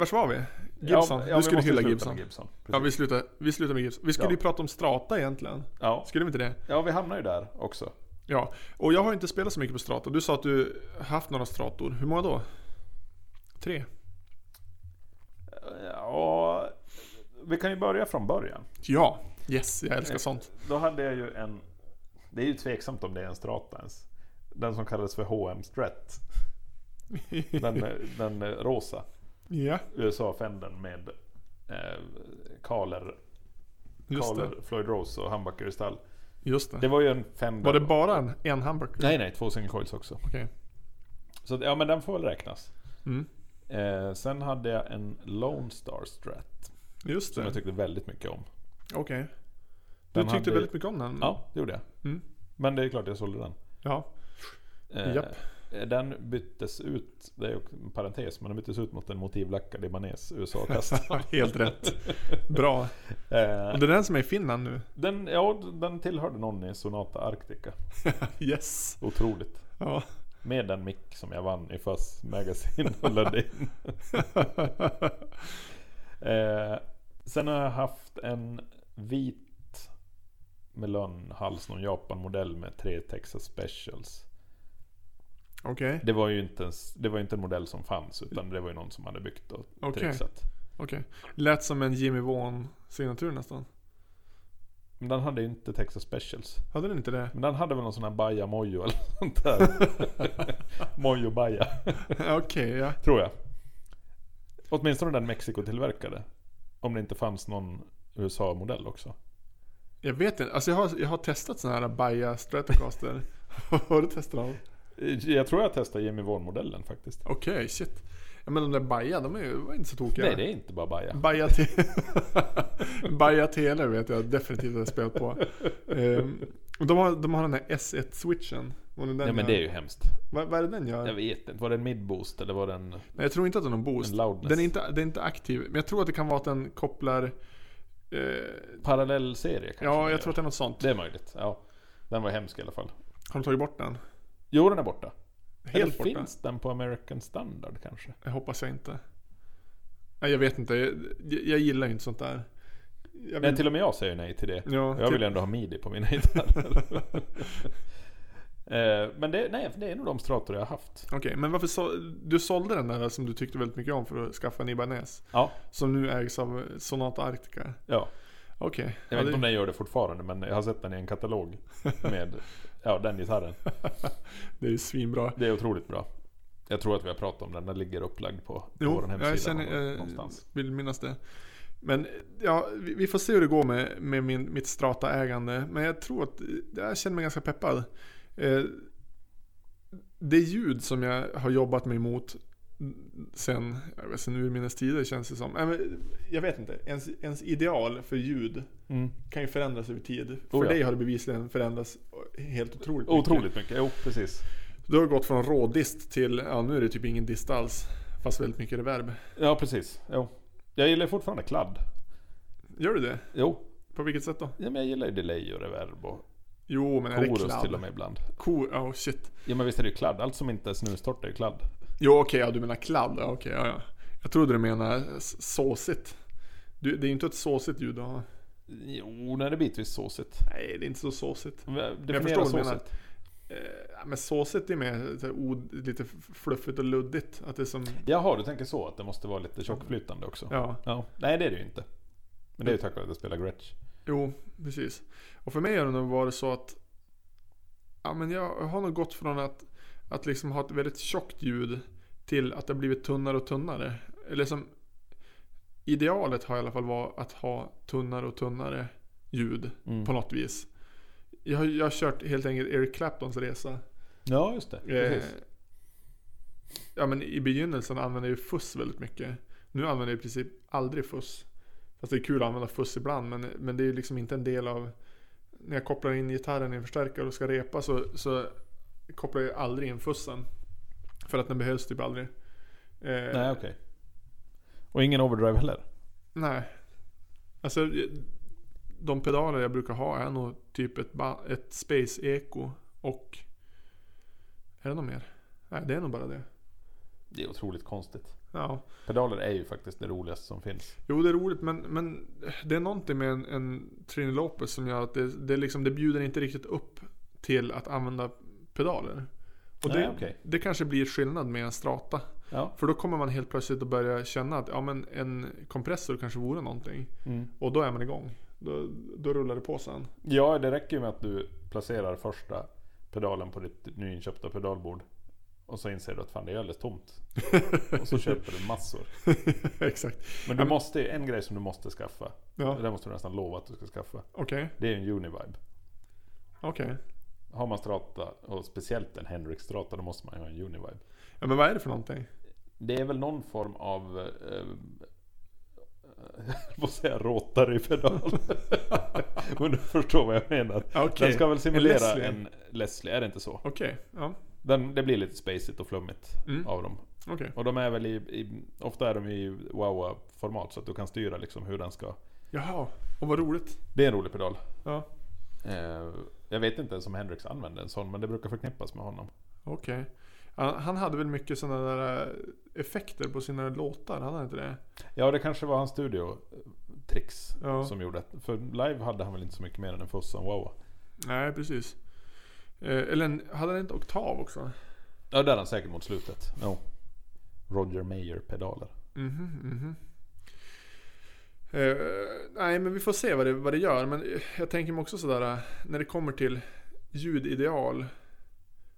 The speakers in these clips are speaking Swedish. Vars var vi? Gibson. du skulle hylla Gibson. Ja, Ja, vi... vi slutar, vi slutar med Gibson. Vi skulle Ja. ju prata om Strata egentligen. måste ju säga Gibson. Precis. Skulle vi inte det? Ja. ja, vi hamnar ju där också. Ja. Och jag har inte spelat så mycket på Strata. Du sa att du haft några Strator. Hur många då? Tre? Ja, vi kan ju börja från början. Ja. Yes, jag älskar sånt. Då hade jag ju en... Det är ju tveksamt om det är en strata ens. Den som kallades för HM Strat. Den, eh, den eh, rosa. ja, USA-fänden med eh, Kaler, just det. Kaler Floyd Rose och Humbucker i stall. Just Det det. var ju en fem Var det bara en, en hamburger? Nej, nej, två single coils också. Okej. Så att, ja, men den får väl räknas. Mm. Eh, sen hade jag en Lone Star Strat. Just Som det. jag Okej. tyckte väldigt mycket om. Du Den tyckte hade- väldigt mycket om den? Ja, det gjorde jag. Mm. Men det är klart jag sålde den. Ja. Eh, Japp. Den byttes ut, det är ju en parentes, men den byttes ut mot en motivlackad libanes USA-kassa. Helt rätt. Bra. eh, Och det är den som är i Finland nu? den, ja, den tillhörde någon i Sonata Arctica. Yes. Otroligt. Ja. Med den mick som jag vann i Fuzz Magazine och lödde in. Eh, sen har jag haft en vit melonhals, någon Japan-modell med tre Texas Specials. Okej. Det var ju inte, ens, det var ju inte en modell som fanns, utan det var ju någon som hade byggt och Okej. trixat. Okej. Lät som en Jimmy Vaughan signatur nästan. Men den hade ju inte Texas Specials. Hade den inte det? Men den hade väl någon sån här Baja Mojo eller sånt där. Mojo Baja, Okej, ja. tror jag. Åtminstone den Mexiko tillverkade. Om det inte fanns någon USA-modell också. Jag vet inte. Alltså jag har, jag har testat sådana här Baja Stratocaster. har du testat dem? Eh, Jag tror jag testade Jimmy Vaughan-modellen faktiskt. Okej, shit. Ja men de där Baja, de är ju var inte så tokiga. Nej, det är inte bara Baja. Baja, te- Baja Tele vet jag definitivt har spelat på. Ehm, och de, har, de har den här S1-switchen. Och den Nej men gör- det är ju hemskt. Vad, vad är det den gör? Jag vet inte, var det en midboost eller var det en... Nej, jag tror inte att den har boost. En loudness. Den är, inte, den är inte aktiv. Men jag tror att det kan vara att den kopplar... Eh, Parallell serie kanske? Ja, den jag gör. tror att det är något sånt. Det är möjligt, ja. Den var hemsk i alla fall. Har de tagit bort den? Jo, den är borta. Helt eller borta? finns den på American Standard kanske? Jag hoppas jag inte. Nej, jag vet inte. Jag, jag- jag gillar ju inte sånt där. Jag vill- Nej, till och med jag säger nej till det. ja, typ. Jag till- vill ju ändå ha midi på mina gitarrer. Eh, Men det, nej, det är nog de strator jag har haft. Okej, men varför så, du sålde den där som du tyckte väldigt mycket om för att skaffa en Ibanez? Ja, Som nu ägs av Sonata Arctica. ja. Okej. Jag Ja, vet det- inte om den gör det fortfarande, men jag har sett den i en katalog. Med ja, den gitarren. det är ju svinbra. Det är otroligt bra. Jag tror att vi har pratat om den. Den ligger upplagd på, på Jo, vår hemsida. jag känner, eh, någon- jag någonstans. vill minnas det. Men ja, vi vi får se hur det går med, med min, mitt Strata-ägande. Men jag tror att, eh, jag känner mig ganska peppad. Eh, det ljud som jag har jobbat mig emot sen, jag vet, sen urminnes tider känns det som. Nej, men Jag vet inte, ens, ens ideal för ljud Mm. kan ju förändras över tid. För Oh ja. dig har det bevisligen förändrats helt otroligt Otroligt mycket. Jo, precis. Du har gått från rådist till, ja nu är det typ ingen dist alls. Fast väldigt mycket reverb. Ja, precis. Jo. Jag gillar fortfarande kladd. Gör du det? Jo, På vilket sätt då? ja, men jag gillar ju delay och reverb och Jo, men är det chorus kladd? till och med ibland. Kor, oh shit. Ja, men visst är det ju kladd. Allt som inte är snustort är ju kladd. Jo, okej, ja, du menar kladd. Ja, okej, ja, ja. Jag trodde du menade s- såsigt. Du, det är ju inte ett såsigt ljud att ha. Jo, nej, det är bitvis såsigt. Nej, det är inte så såsigt. jag Definiera förstår vad du menar. såset. Eh, ja, men såsigt är mer så här od- lite f- fluffigt och luddigt. Att det är som... Jaha, du tänker så att det måste vara lite tjockflytande också? Ja, Nej, det är det ju inte. Men det är ju tack vare att jag spelar Gretsch. jo, precis. Och för mig har det nog varit så att... Ja, men jag har nog gått från att, att liksom ha ett väldigt tjockt ljud till att det har blivit tunnare och tunnare. Eller som... Idealet har i alla fall varit att ha tunnare och tunnare ljud. Mm. på något vis. Jag har, jag har kört helt enkelt Eric Claptons resa. Ja, just det. Precis. Eh, ja men i begynnelsen använde jag ju fuss väldigt mycket. Nu använder jag i princip aldrig fuss. Fast det är kul att använda fuss ibland men, men det är ju liksom inte en del av... När jag kopplar in gitarren i en förstärkare och ska repa så, så kopplar jag aldrig in fussen. För att den behövs typ aldrig. Eh, Nej, okej. Och ingen overdrive heller? Nej. Alltså, de pedaler jag brukar ha är nog typ ett, ba- ett Space Eco och... Är det något mer? Nej, det är nog bara det. Det är otroligt konstigt. Ja. Pedaler är ju faktiskt det roligaste som finns. Jo, det är roligt men, men det är någonting med en, en Trini Lopez som gör att det, det, är liksom, det bjuder inte riktigt upp till att använda pedaler. Och Nej, det, okej. det kanske blir skillnad med en strata. Ja. För då kommer man helt plötsligt att börja känna att ja, men en kompressor kanske vore någonting. Mm. Och då är man igång. Då, då rullar det på sen. ja, det räcker ju med att du placerar första pedalen på ditt nyinköpta pedalbord. Och så inser du att fan det är alldeles tomt. Och så köper du massor. Exakt. Men Ja, du men- måste, en grej som du måste skaffa. Ja, Det där måste du nästan lova att du ska skaffa. okej. Det är en Univibe. okej. Har man strata, och speciellt en Henrik strata, då måste man ju ha en Univibe. Ja, men vad är det för någonting? Det är väl någon form av... eh, eh, Jag får säga råtare i pedal. Men du förstår vad jag menar. Ja, Okej. Den ska väl simulera en En Leslie, Leslie. är det inte så? Okej, ja. Den, det blir lite spacigt och flummigt Mm. av dem. Okej. Och de är väl i, i ofta är de i Wawa-format så att du kan styra liksom hur den ska... Jaha, och vad roligt. Det är en rolig pedal. Ja, Eh, jag vet inte ens om Hendrix använde en sån, men det brukar förknippas med honom. okej. Ja, Han hade väl mycket sådana där eh, effekter på sina låtar, hade han inte det? Ja, det kanske var hans studiotricks Ja. som gjorde det. För live hade han väl inte så mycket mer än en Fossa och en Wawa. Nej, precis. Eh, Eller en- hade han inte oktav också? Ja, där är han säkert mot slutet. No. Roger Mayer-pedaler. Mhm, mhm. Eh, nej, men vi får se vad det, vad det gör. Men eh, jag tänker mig också sådär, eh, när det kommer till ljudideal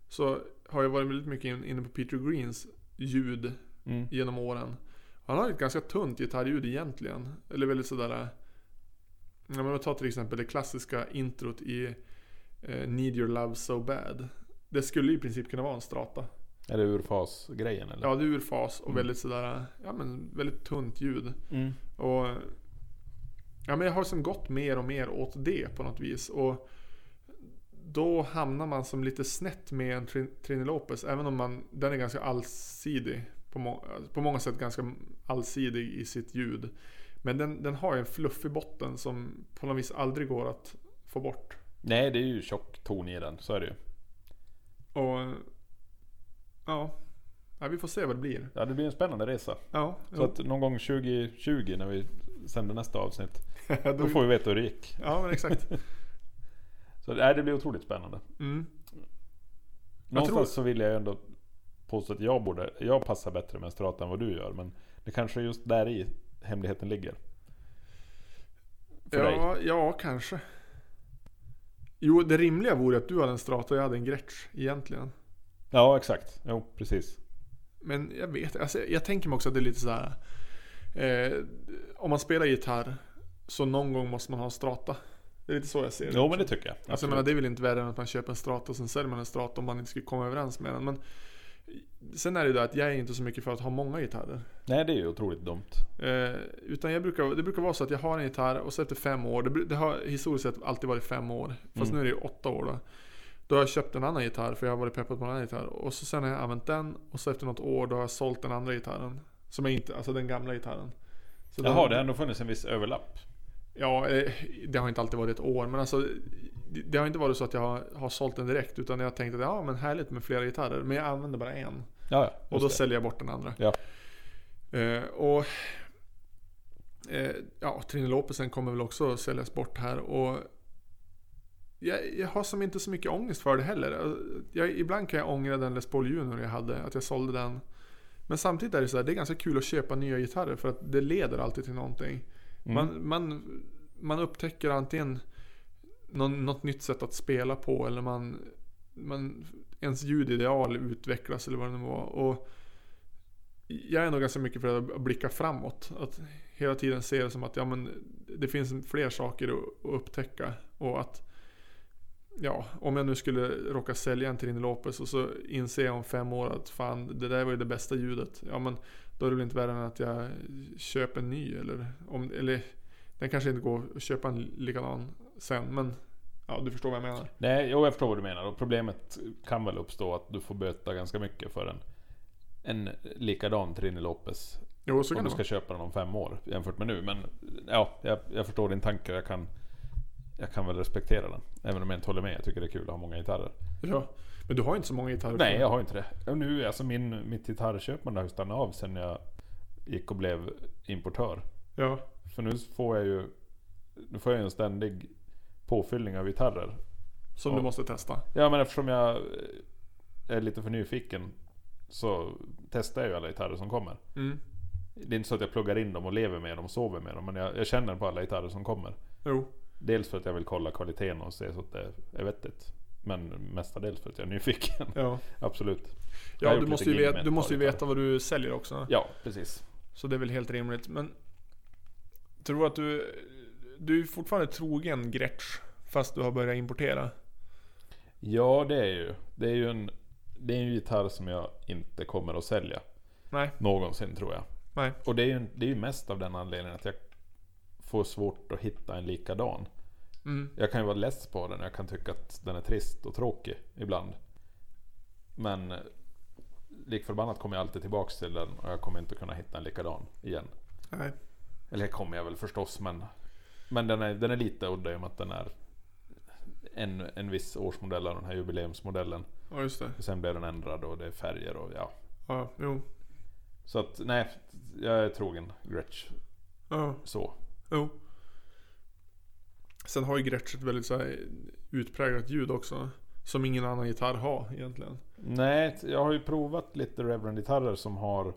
så har jag varit väldigt mycket in- inne på Peter Greens ljud Mm. genom åren. Han har ett ganska tunt gitarrljud egentligen. Eller väldigt sådär... eh, Ja, men ta till exempel det klassiska introt i eh, Need Your Love So Bad. Det skulle ju i princip kunna vara en strata. Är det urfas-grejen eller? Ja, det är ur fas och Mm. väldigt sådär, ja men väldigt tunt ljud. Mm. Och ja, men jag har som gått mer och mer åt det på något vis. Och då hamnar man som lite snett med en Trin- Trini Lopez. Även om man, den är ganska allsidig. På, må, på många sätt ganska allsidig i sitt ljud. Men den, den har ju en fluffig botten som på något vis aldrig går att få bort. Nej, det är ju tjock ton i den. Så är det ju. Och ja, ja vi får se vad det blir. Ja, det blir en spännande resa. Ja, Så att någon gång 2020 när vi sänder nästa avsnitt. då, Då får vi veta hur det gick. ja men exakt. Så nej, det blir otroligt spännande. Mm. Någonstans så vill jag ju ändå påstå att jag, borde, jag passar bättre med en strata än vad du gör. Men det kanske är just där i hemligheten ligger. För dig. Ja, ja, kanske. Jo, det rimliga vore att du hade en strata och jag hade en Gretsch egentligen. Ja, exakt. Jo, precis. Men jag vet alltså, Jag tänker mig också att det är lite så här. Eh, om man spelar gitarr så någon gång måste man ha en strata. Det är lite så jag ser det. Jo, men det tycker jag. Alltså jag menar, det är väl inte värre än att man köper en strata och sen säljer man en strata om man inte skulle komma överens med den. Men sen är det ju det att jag är inte så mycket för att ha många gitarrer. Nej, det är ju otroligt dumt. Eh, utan jag brukar, det brukar vara så att jag har en gitarr och så efter fem år, det, bru- det har historiskt sett alltid varit fem år, fast Mm. nu är det ju åtta år då. Då har jag köpt en annan gitarr för jag har varit peppad på en annan gitarr. Och så sen har jag använt den och så efter något år då har jag sålt den andra gitarren. Som jag inte, alltså den gamla gitarren. Så Jaha, den- det har ändå funnits en viss överlapp. Ja, eh, det har inte alltid varit ett år. Men alltså, det, det har inte varit så att jag har, har sålt den direkt. Utan jag har tänkt att ja, men härligt med flera gitarrer. Men jag använder bara en. Ja, ja. Och då just det. säljer jag bort den andra. Ja. Eh, och eh, ja, Trini Lopesen kommer väl också säljas bort här. Och jag, jag har som inte så mycket ångest för det heller. Alltså, Jag, ibland kan jag ångra den Les Paul Junior jag hade, att jag sålde den. Men samtidigt är det så här, det är ganska kul att köpa nya gitarrer för att det leder alltid till någonting. Mm. Man, man, man upptäcker antingen någon, något nytt sätt att spela på eller man, man ens ljudideal utvecklas eller vad det nu var. Och jag är nog ganska mycket för att blicka framåt. Att hela tiden se det som att ja, men det finns fler saker att, att upptäcka. Och att ja, om jag nu skulle råka sälja en Trini Lopez och så inser jag om fem år att fan det där var ju det bästa ljudet. Ja men då är det väl inte värre än att jag köper en ny eller, om, eller den kanske inte går att köpa en likadan sen men ja du förstår vad jag menar. Nej, jo, jag förstår vad du menar. Och problemet kan väl uppstå att du får böta ganska mycket för en, en likadan Trini Lopez. Jo så Om kan du det ska vara. köpa den om fem år jämfört med nu. Men ja, jag, jag förstår din tanke. Jag kan, jag kan väl respektera den. Även om jag inte håller med. Jag tycker det är kul att ha många gitarrer. Ja. Men du har inte så många gitarrer? Nej, jag har inte det. Och nu, alltså min, mitt gitarrköpande har ju stannat av sen jag gick och blev importör. Ja. Så nu får jag ju nu får jag ju en ständig påfyllning av gitarrer. Som Ja. du måste testa? Ja, men eftersom jag eh, är lite för nyfiken så testar jag ju alla gitarrer som kommer. Mm. Det är inte så att jag pluggar in dem och lever med dem och sover med dem. Men jag, jag känner på alla gitarrer som kommer. Jo. Dels för att jag vill kolla kvaliteten och se så att det är vettigt. Men mestadels för att jag är nyfiken. Ja. Absolut. Jag har Ja, gjort du lite måste, ju gig med veta, ett du par måste ju gitarrer. veta vad du säljer också. Ja, precis. Så det är väl helt rimligt. Men... Tror du att du... Du är ju fortfarande trogen Gretsch. Fast du har börjat importera. Ja, det är ju. Det är ju en, det är en gitarr som jag inte kommer att sälja. Nej. Någonsin tror jag. Nej. Och det är ju en- det är ju mest av den anledningen att jag får svårt att hitta en likadan. Mm. Jag kan ju vara less på den. Jag kan tycka att den är trist och tråkig ibland. Men eh, lik förbannat kommer jag alltid tillbaks till den och jag kommer inte kunna hitta en likadan igen. Nej. Eller det kommer jag väl förstås men Men den är, den är lite udda i och med att den är en, en viss årsmodell av den här jubileumsmodellen. Ja, just det. Och sen blev den ändrad och det är färger och ja. Ja, jo. Så att nej, jag är trogen Gretsch. Ja, Så. jo. Sen har ju Gretsch ett väldigt så här utpräglat ljud också. Som ingen annan gitarr har egentligen. Nej, jag har ju provat lite Reverend-gitarrer som har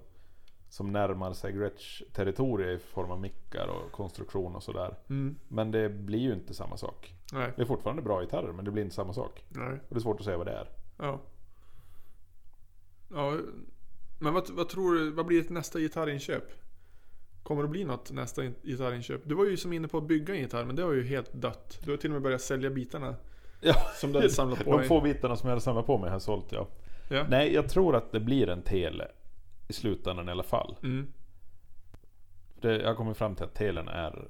som närmar sig Gretsch territorie i form av mickar och konstruktion och sådär. Mm. Men det blir ju inte samma sak. Nej. Det är fortfarande bra gitarrer men det blir inte samma sak. Nej. Och det är svårt att säga vad det är. Ja. Ja. Men vad, vad tror du, vad blir ditt nästa gitarrinköp? Kommer det bli något nästa in- gitarrinköp? Du var ju som inne på att bygga en gitarr men det har ju helt dött. Du har till och med börjat sälja bitarna Ja, som du hade samlat på De dig. få bitarna som jag hade samlat på mig har jag sålt ja. Ja. Nej, jag tror att det blir en tele i slutändan i alla fall. Mm. Det, jag har kommit fram till att telen är...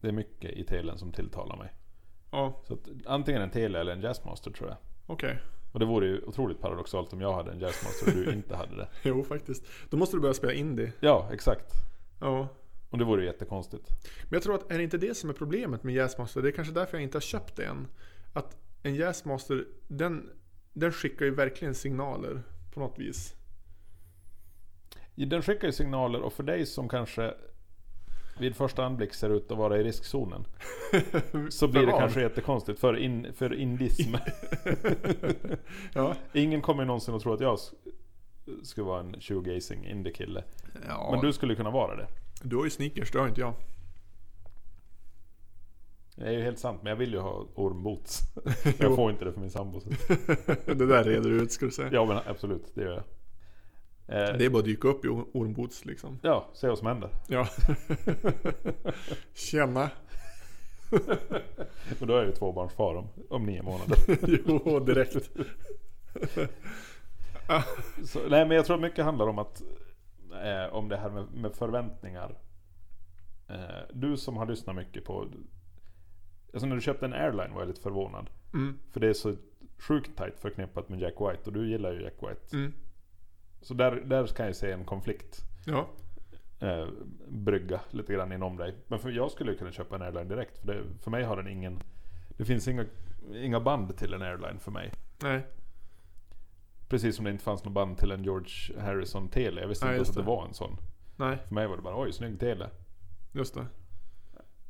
Det är mycket i telen som tilltalar mig. Ja, Så att, antingen en tele eller en jazzmaster tror jag. okej. Och det vore ju otroligt paradoxalt om jag hade en jazzmaster och du inte hade det. Jo faktiskt. Då måste du börja spela indie. Ja, exakt. Ja. Och det vore ju jättekonstigt. Men jag tror att är det inte det som är problemet med Jazzmaster? Det är kanske därför jag inte har köpt det än. Att en Jazzmaster, den, den skickar ju verkligen signaler på något vis. Den skickar ju signaler och för dig som kanske vid första anblick ser ut att vara i riskzonen. Så blir det Förvar. kanske jättekonstigt för, in, för indism. ja. Ingen kommer ju någonsin att tro att jag s- skulle vara en shoegazing indie-kille. ja. Men du skulle kunna vara det. Du har ju sneakers, det har inte jag. Det är ju helt sant, men jag vill ju ha ormboots. jag får inte det för min sambo. så- det där reder du ut skulle du säga. Ja men absolut, det gör jag. Eh, Det är bara att dyka upp i or- ormboots liksom. Ja, se vad som händer. Ja. Tjena. Men då är jag ju tvåbarnsfar om, om nio månader. jo, direkt. Så, nej men jag tror mycket handlar om att eh, om det här med, med förväntningar. Eh, du som har lyssnat mycket på... Alltså när du köpte en airline var jag lite förvånad. Mm, För det är så sjukt tajt förknippat med Jack White och du gillar ju Jack White. mm. Så där, där kan jag se en konflikt Ja. eh, brygga lite grann inom dig. Men för jag skulle ju kunna köpa en airline direkt. För, det, för mig har den ingen... Det finns inga, inga band till en airline för mig. Nej. Precis som det inte fanns något band till en George Harrison Tele. Jag visste Nej, inte ens just att det det. var en sån. Nej, För mig var det bara oj, snygg Tele. just det.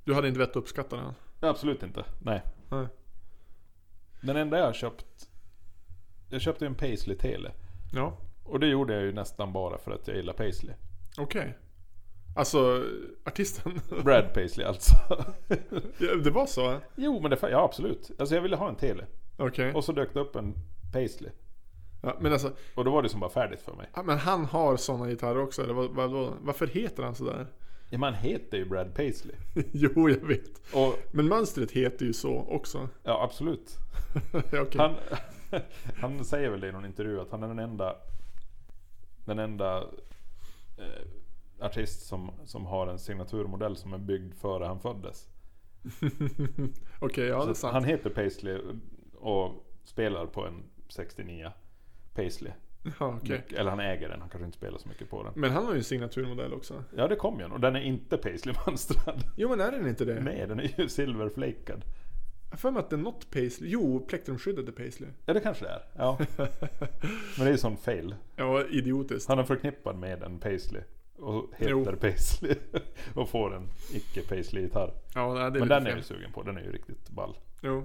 Du hade inte vett att uppskatta den. Ja, Absolut inte. Nej. Nej. Den enda jag har köpt... Jag köpte ju en Paisley Tele. Ja, Och det gjorde jag ju nästan bara för att jag gillar Paisley. okej. Alltså, artisten. Brad Paisley alltså. Ja, det var så? jo men det... fa- Ja absolut. Alltså jag ville ha en Tele. Okej. Och så dök det upp en Paisley. Ja, men alltså, Och då var det som bara färdigt för mig. ja, men han har såna gitarrer också, eller vad, vad, vad, varför heter han sådär? Ja, man heter ju Brad Paisley. jo, jag vet. Och Men mönstret heter ju så också. ja, absolut. ja, okej. Han, han säger väl det i någon intervju att han är den enda Den enda eh, artist som, som har en signaturmodell som är byggd före han föddes. Okej, ja det är Så han sant. heter Paisley och spelar på en 69 Paisley. Ja, okej. Mycket- Eller han äger den, han kanske inte spelar så mycket på den. Men han har ju en signaturmodell också. Ja, det kom ju en och den är inte Paisley-mönstrad. Jo men är den inte det? Nej, den är ju silverflakad. Jag har för mig att det är något Paisley. Jo, plektrumskyddet är Paisley. Ja det kanske det är. Ja. Men det är ju sån fail. Ja, idiotiskt. Han är förknippad med en Paisley. Och heter Jo. Paisley. Och får en icke Paisley gitarr. Ja, nej, det är Men lite den är jag fel. ju sugen på. Den är ju riktigt ball. Jo.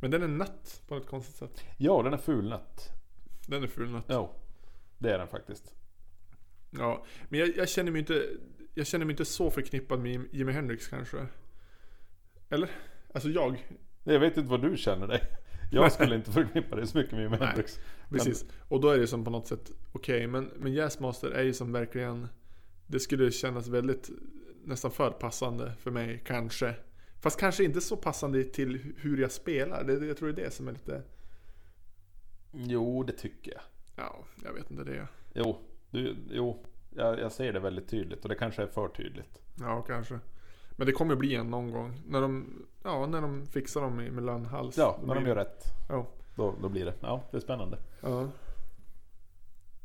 Men den är nött på något konstigt sätt. Ja den är fulnött. Den är full nött. Jo. Det är den faktiskt. Ja, men jag, jag känner mig inte Jag känner mig inte så förknippad med Jim- Jimi Hendrix kanske. Eller? Alltså jag. Jag vet inte vad du känner dig. Jag skulle inte förknippa dig så mycket med Jimi Nej. Hendrix. Precis. Och då är det som på något sätt okej. men, men Jazzmaster är ju som verkligen Det skulle kännas väldigt Nästan för passande för mig kanske. Fast kanske inte så passande till hu- hur jag spelar. Det, det- jag tror det är det som är lite Jo det tycker jag. Ja, jag vet inte det. Jo. Du, jo. Jag, jag ser det väldigt tydligt. Och det kanske är för tydligt. Ja, kanske. Men det kommer bli en någon gång. När de, ja, när de fixar dem i- med lönnhals. Ja, Då när de blir- gör rätt. Ja. Då, då blir det. Ja, det är spännande. Ja.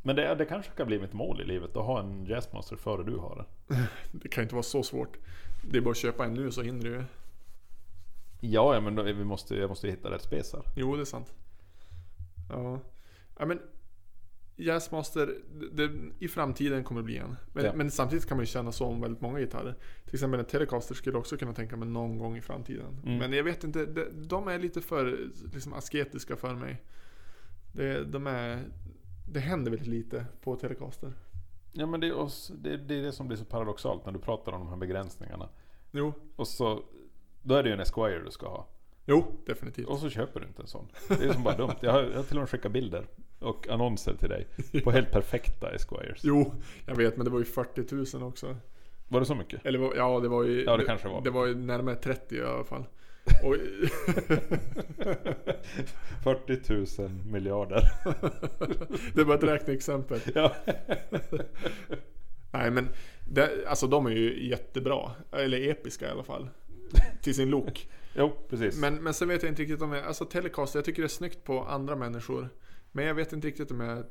Men det, det kanske ska bli mitt mål i livet att ha en jazzmaster före du har den. Det kan ju inte vara så svårt. Det är bara att köpa en nu så hinner du ju. Ja, ja men då, vi måste, jag måste ju hitta rätt spesar. Jo, det är sant. Ja. Ja, men Jazzmaster, det, det, i framtiden kommer det bli en. Men, Ja. men samtidigt kan man ju känna så om väldigt många gitarrer. Till exempel en Telecaster skulle jag också kunna tänka mig någon gång i framtiden. Mm. Men jag vet inte, de, de är lite för liksom, asketiska för mig. Det, de är, det händer väldigt lite på Telecaster. Ja, men det är, oss, det, det är det som blir så paradoxalt när du pratar om de här begränsningarna. Jo, Och så, då är det ju en Esquire du ska ha. jo definitivt. Och så köper du inte en sån. Det är som bara dumt. Jag har, jag har till och med skickat bilder och annonser till dig på helt perfekta Esquires. Jo, jag vet men det var ju 40 000 också. Var det så mycket? Eller vad- ja, det var ju... Ja, det kanske det var. Det var ju närmare 30 i alla fall. Och, 40 000 miljarder. det var ett räkneexempel. Ja. Nej men, det, alltså de är ju jättebra. Eller episka i alla fall. Till sin look. Jo, precis. Men, men sen vet jag inte riktigt om jag... Alltså Telecaster, jag tycker det är snyggt på andra människor. Men jag vet inte riktigt om jag...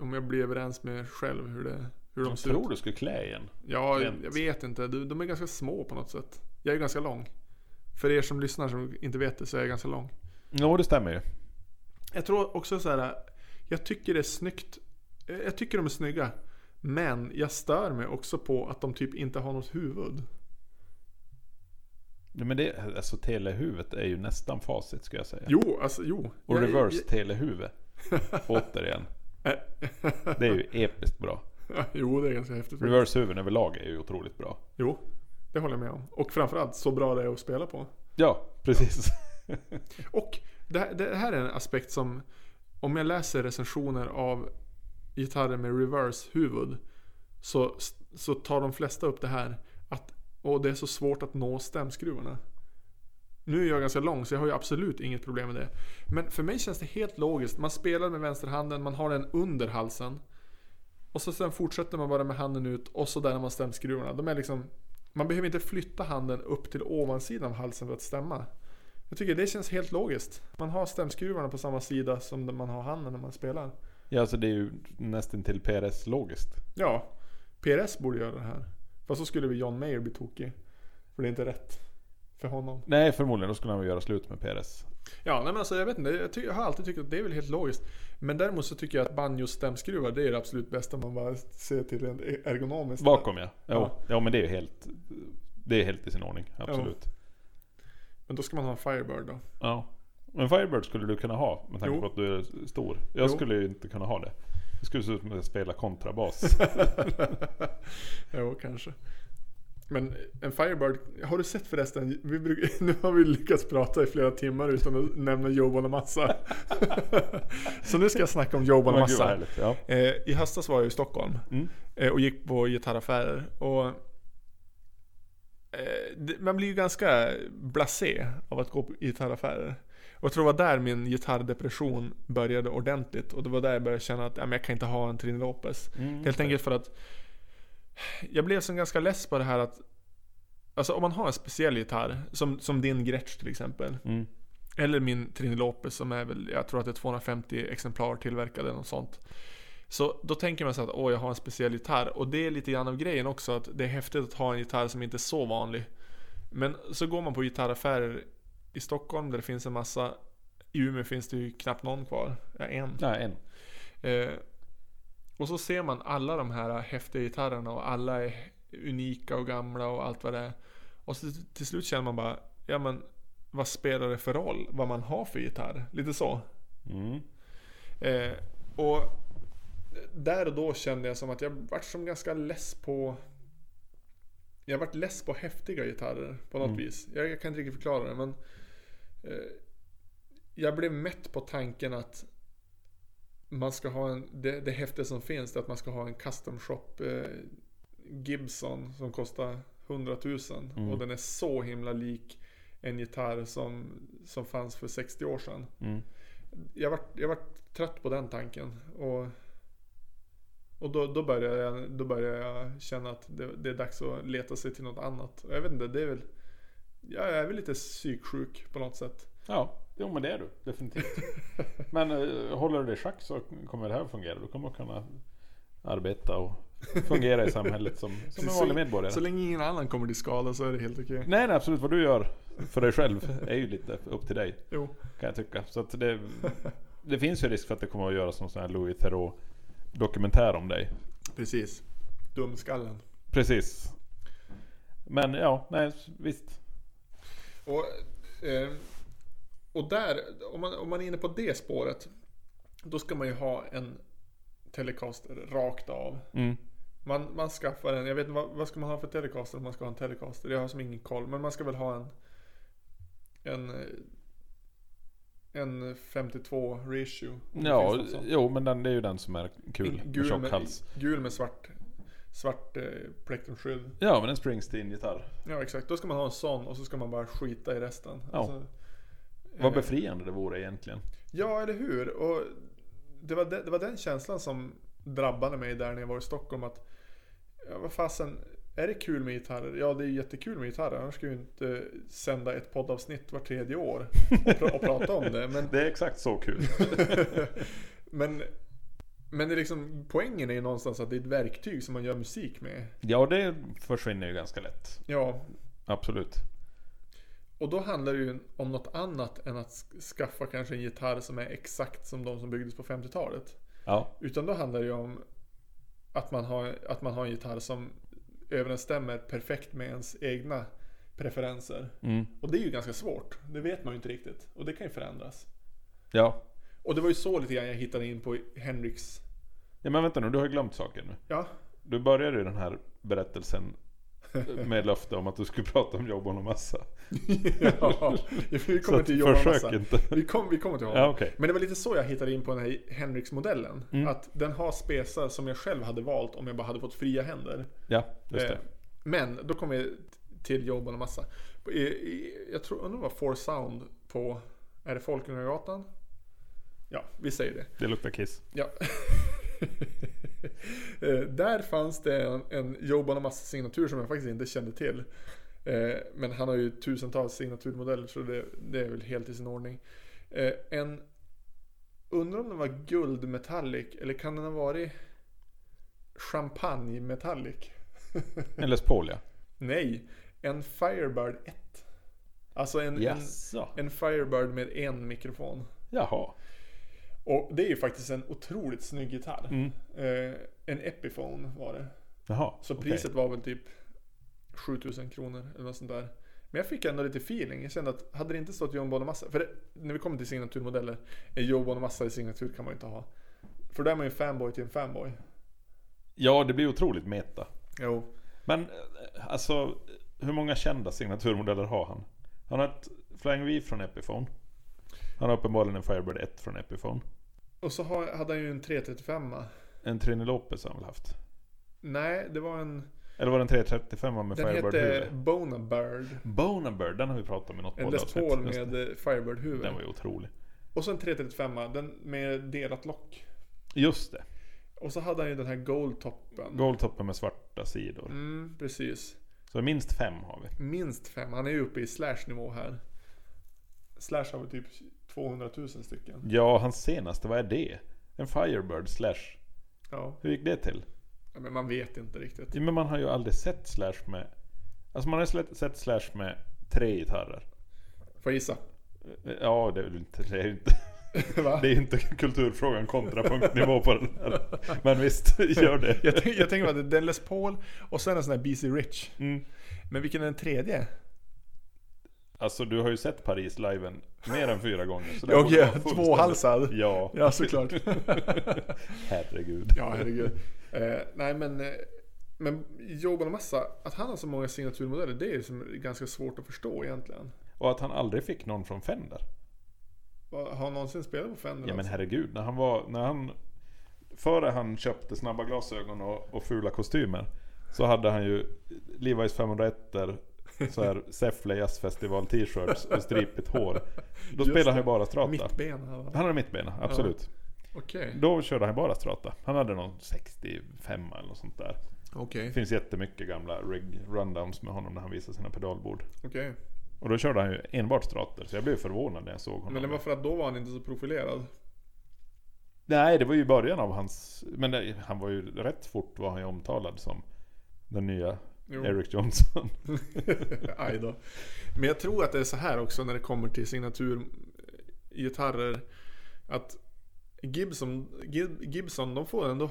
Om jag blir överens med själv hur, det, hur de jag ser ut. tror du skulle klä igen. Ja, Rent. jag vet inte. De, de är ganska små på något sätt. Jag är ganska lång. För er som lyssnar som inte vet det så är jag ganska lång. Jo, det stämmer ju. Jag tror också så här. Jag tycker det är snyggt. Eh, Jag tycker de är snygga. Men jag stör mig också på att de typ inte har något huvud. Ja, men det, alltså telehuvudet är ju nästan facit skulle jag säga. Jo, alltså jo. och Jag- reverse telehuvud. Återigen. Det är ju episkt bra. jag- jo, det är ganska häftigt. Reverse huvuden överlag är ju otroligt bra. Jo, det håller jag med om. Och framförallt så bra det är att spela på. Ja, precis. Och det här, det här är en aspekt som om jag läser recensioner av gitarrer med reverse huvud så, så tar de flesta upp det här att åh, det är så svårt att nå stämskruvarna. Nu är jag ganska lång så jag har ju absolut inget problem med det. Men för mig känns det helt logiskt. Man spelar med vänsterhanden, man har den under halsen. Och så sen fortsätter man bara med handen ut och så där har man stämskruvarna. De är liksom, man behöver inte flytta handen upp till ovansidan av halsen för att stämma. Jag tycker det känns helt logiskt. Man har stämskruvarna på samma sida som man har handen när man spelar. Ja, alltså det är ju nästan till PRS logiskt. Ja, PRS borde göra det här. Fast så skulle vi John Mayer bli tokig. För det är inte rätt för honom. Nej, förmodligen. Då skulle han väl göra slut med PRS. Ja, nej men alltså jag vet inte. Jag, ty- jag har alltid tyckt att det är väl helt logiskt. Men däremot så tycker jag att banjo-stämskruvar det är det absolut bästa man bara ser till e- en ergonomisk. Bakom ja. Jo, ja. Ja. men det är ju helt... Det är helt i sin ordning. Absolut. Men då ska man ha en Firebird då. Ja. Men Firebird skulle du kunna ha med tanke Jo. på att du är stor. Jag Jo. skulle ju inte kunna ha det. Det skulle se ut som att jag spelar kontrabas. jo, kanske. Men en Firebird, har du sett förresten? Vi bruk, nu har vi lyckats prata i flera timmar utan att nämna Joe Bonamassa. Så nu ska jag snacka om Joe Men gud, vad Bonamassa. härligt. Ja. Eh, I höstas var jag i Stockholm Mm. eh, och gick på gitarraffärer. Och, eh, det- man blir ju ganska blasé av att gå på gitarraffärer. Och jag tror det var där min gitarrdepression började ordentligt. Och det var där jag började känna att ja, men jag kan inte ha en Trini Lopez. Mm. Helt enkelt för att jag blev som ganska less på det här att Alltså om man har en speciell gitarr, som, som din Gretsch till exempel. Mm. Eller min Trini Lopez som är väl, jag tror att det är 250 exemplar tillverkade eller något sånt. Så då tänker man sig att åh, jag har en speciell gitarr. Och det är lite grann av grejen också att det är häftigt att ha en gitarr som inte är så vanlig. Men så går man på gitarraffärer i Stockholm där det finns en massa. I Umeå finns det ju knappt någon kvar. Ja, en. Nej, en. Eh, och så ser man alla de här häftiga gitarrerna och alla är unika och gamla och allt vad det är. Och så till slut känner man bara, ja men vad spelar det för roll vad man har för gitarr? Lite så. Mm. Eh, och där och då kände jag som att jag vart som ganska less på Jag vart less på häftiga gitarrer på något Mm. vis. Jag, jag kan inte riktigt förklara det men eh, Jag blev mätt på tanken att man ska ha en, det, det häftiga som finns det är att man ska ha en custom shop eh, Gibson som kostar 100 000 Mm. och den är så himla lik en gitarr som, som fanns för 60 år sedan. Mm. Jag vart, jag vart trött på den tanken. Och, och då, då, började jag, då började jag känna att det, det är dags att leta sig till något annat. Och jag vet inte, det är väl... Jag är väl lite psyksjuk på något sätt. Ja, jo men det är du. Definitivt. Men eh, håller du dig i schack så kommer det här att fungera. Du kommer att kunna arbeta och fungera i samhället som, som en Så- vanlig medborgare. Så länge ingen annan kommer till skada så är det helt okej. Nej, nej absolut. Vad du gör för dig själv är ju lite upp till dig. Jo. Kan jag tycka. Så att det, det finns ju risk för att det kommer att göras någon sån här Louis Theroux dokumentär om dig. Precis. Dumskallen. Precis. Men ja, nej visst. Och, eh, och där, om man, om man är inne på det spåret. Då ska man ju ha en Telecaster rakt av. Mm. Man, man skaffar en, jag vet inte vad, vad ska man ha för telecaster om man ska ha en telecaster? Jag har som ingen koll. Men man ska väl ha en en eh, en 52 reissue. om det Ja, finns något sånt. jo men den, det är ju den som är kul. En Med tjock med, hals. gul med svart svart eh, plektrumskydd. Ja men en Springsteen-gitarr. Ja exakt, då ska man ha en sån och så ska man bara skita i resten. Alltså, Ja. Vad eh, befriande det vore egentligen. Ja, eller hur? Och det, var de, det var den känslan som drabbade mig där när jag var i Stockholm. Att, ja, vad fasen, är det kul med gitarrer? Ja, det är ju jättekul med gitarrer. Annars skulle jag ju inte sända ett poddavsnitt var tredje år och, pra- och prata om det. Men, Det är exakt så kul. men, men det är liksom, poängen är ju någonstans att det är ett verktyg som man gör musik med. Ja det försvinner ju ganska lätt. Ja, Absolut. och då handlar det ju om något annat än att sk- skaffa kanske en gitarr som är exakt som de som byggdes på 50-talet. Ja. Utan då handlar det ju om att man har, att man har en gitarr som överensstämmer perfekt med ens egna preferenser. Mm. Och det är ju ganska svårt. Det vet man ju inte riktigt. Och det kan ju förändras. Ja. Och det var ju så lite grann jag hittade in på Henriks... ja. Men vänta nu, du har ju glömt saker nu. Ja, Du började ju den här berättelsen med löfte om att du skulle prata om Jobban och Massa. ja. vi Så kommer att till Johan försök Massa. inte. Vi, kom, vi kommer till honom. Ja okej. Men det var lite så jag hittade in på den här Henriks-modellen. Mm. Att den har spesar som jag själv hade valt om jag bara hade fått fria händer. Ja, just Eh, det. Men då kommer vi till jobben och massa. I, i, jag tror, undrar vad Four Sound på, är det Folkungagatan? Ja, vi säger det. Det luktar kiss. Ja. Eh, Där fanns det en, en Joban och massa signatur som jag faktiskt inte kände till. Eh, Men han har ju tusentals signaturmodeller så det, det är väl helt i sin ordning. Eh, En, undrar om den var guld metallic eller kan den ha varit champagne metallic? En Les Paul ja. Nej, en Firebird 1. Alltså en, Jaså? en, en Firebird med en mikrofon. Jaha. Och det är ju faktiskt en otroligt snygg gitarr. Mm. Eh, en Epiphone var det. Jaha. Så okej. priset var väl typ 7000 kronor eller något sånt där. Men jag fick ändå lite feeling. Jag kände att hade det inte stått John Bonamassa. För det, när vi kommer till signaturmodeller. eh, John Bonamassa i signatur kan man ju inte ha. För då är man ju en fanboy till en fanboy. Ja, det blir otroligt meta. Jo. Men eh, alltså, hur många kända signaturmodeller har han? Han har ett Flying V från Epiphone. Han har uppenbarligen en Firebird 1 från Epiphone. Och så har, hade han ju en 335 En Trinolopes har han väl haft? Nej, det var en... Eller var det en 335 Den med Firebird hette huvud? Bonabird. Bonabird, den har vi pratat om i något En Les poddavsnitt. Paul Just med det. eh, Firebird-huvud. Den var ju otrolig. Och så en 335 den med delat lock. Just det. Och så hade han ju den här Goldtoppen. Goldtoppen med svarta sidor. Mm, precis. Så minst fem har vi. Minst fem. Han är ju uppe i Slash-nivå här. Slash har väl typ 200 000 stycken. Ja, hans senaste, vad är det? En Firebird Slash. Ja, Hur gick det till? Ja, men man vet inte riktigt. Ja, men man har ju aldrig sett Slash med... Alltså man har slä- sett Slash med tre gitarrer. Får jag gissa? Ja, det är väl inte... Det är ju inte, Va? det är ju inte kulturfrågan kontrapunktnivå på den här. Men visst, gör det. Jag, tänk- jag tänker bara att det är Les Paul och sen en sån här BC Rich. Mm. Men vilken är den tredje? Alltså du har ju sett Paris liven mer än fyra gånger. Så det Jag borde vara är fullständigt- tvåhalsad. Ja. Ja, såklart. Herregud. Ja, herregud. Eh, nej, men, eh, men Joe Bonamassa, att han har så många signaturmodeller, det är ju som ganska svårt att förstå egentligen. Och att han aldrig fick någon från Fender. Vad- Har han någonsin spelat på Fender? Ja men alltså? herregud, när han var... När han, före han köpte snabba glasögon och, och fula kostymer. Så hade han ju Levi's 501 så här Säffle jazzfestival t-shirts och stripigt hår. Då Just spelade han det. ju bara strata. Mittben hade han. Han hade mittbena, absolut. Okej. Då körde han bara strata. Han hade någon 65 eller något sånt där. Okej. Det finns jättemycket gamla rig rundowns med honom när han visar sina pedalbord. Okej. Och då körde han ju enbart strater, så jag blev förvånad när jag såg honom. Men det var för att då var han inte så profilerad. Nej, det var ju i början av hans... Men det, han var ju rätt fort var han ju omtalad som den nya Jo. Eric Johnson. Aj då. Men jag tror att det är så här också när det kommer till signaturgitarrer. Att Gibson, Gib- Gibson de får ändå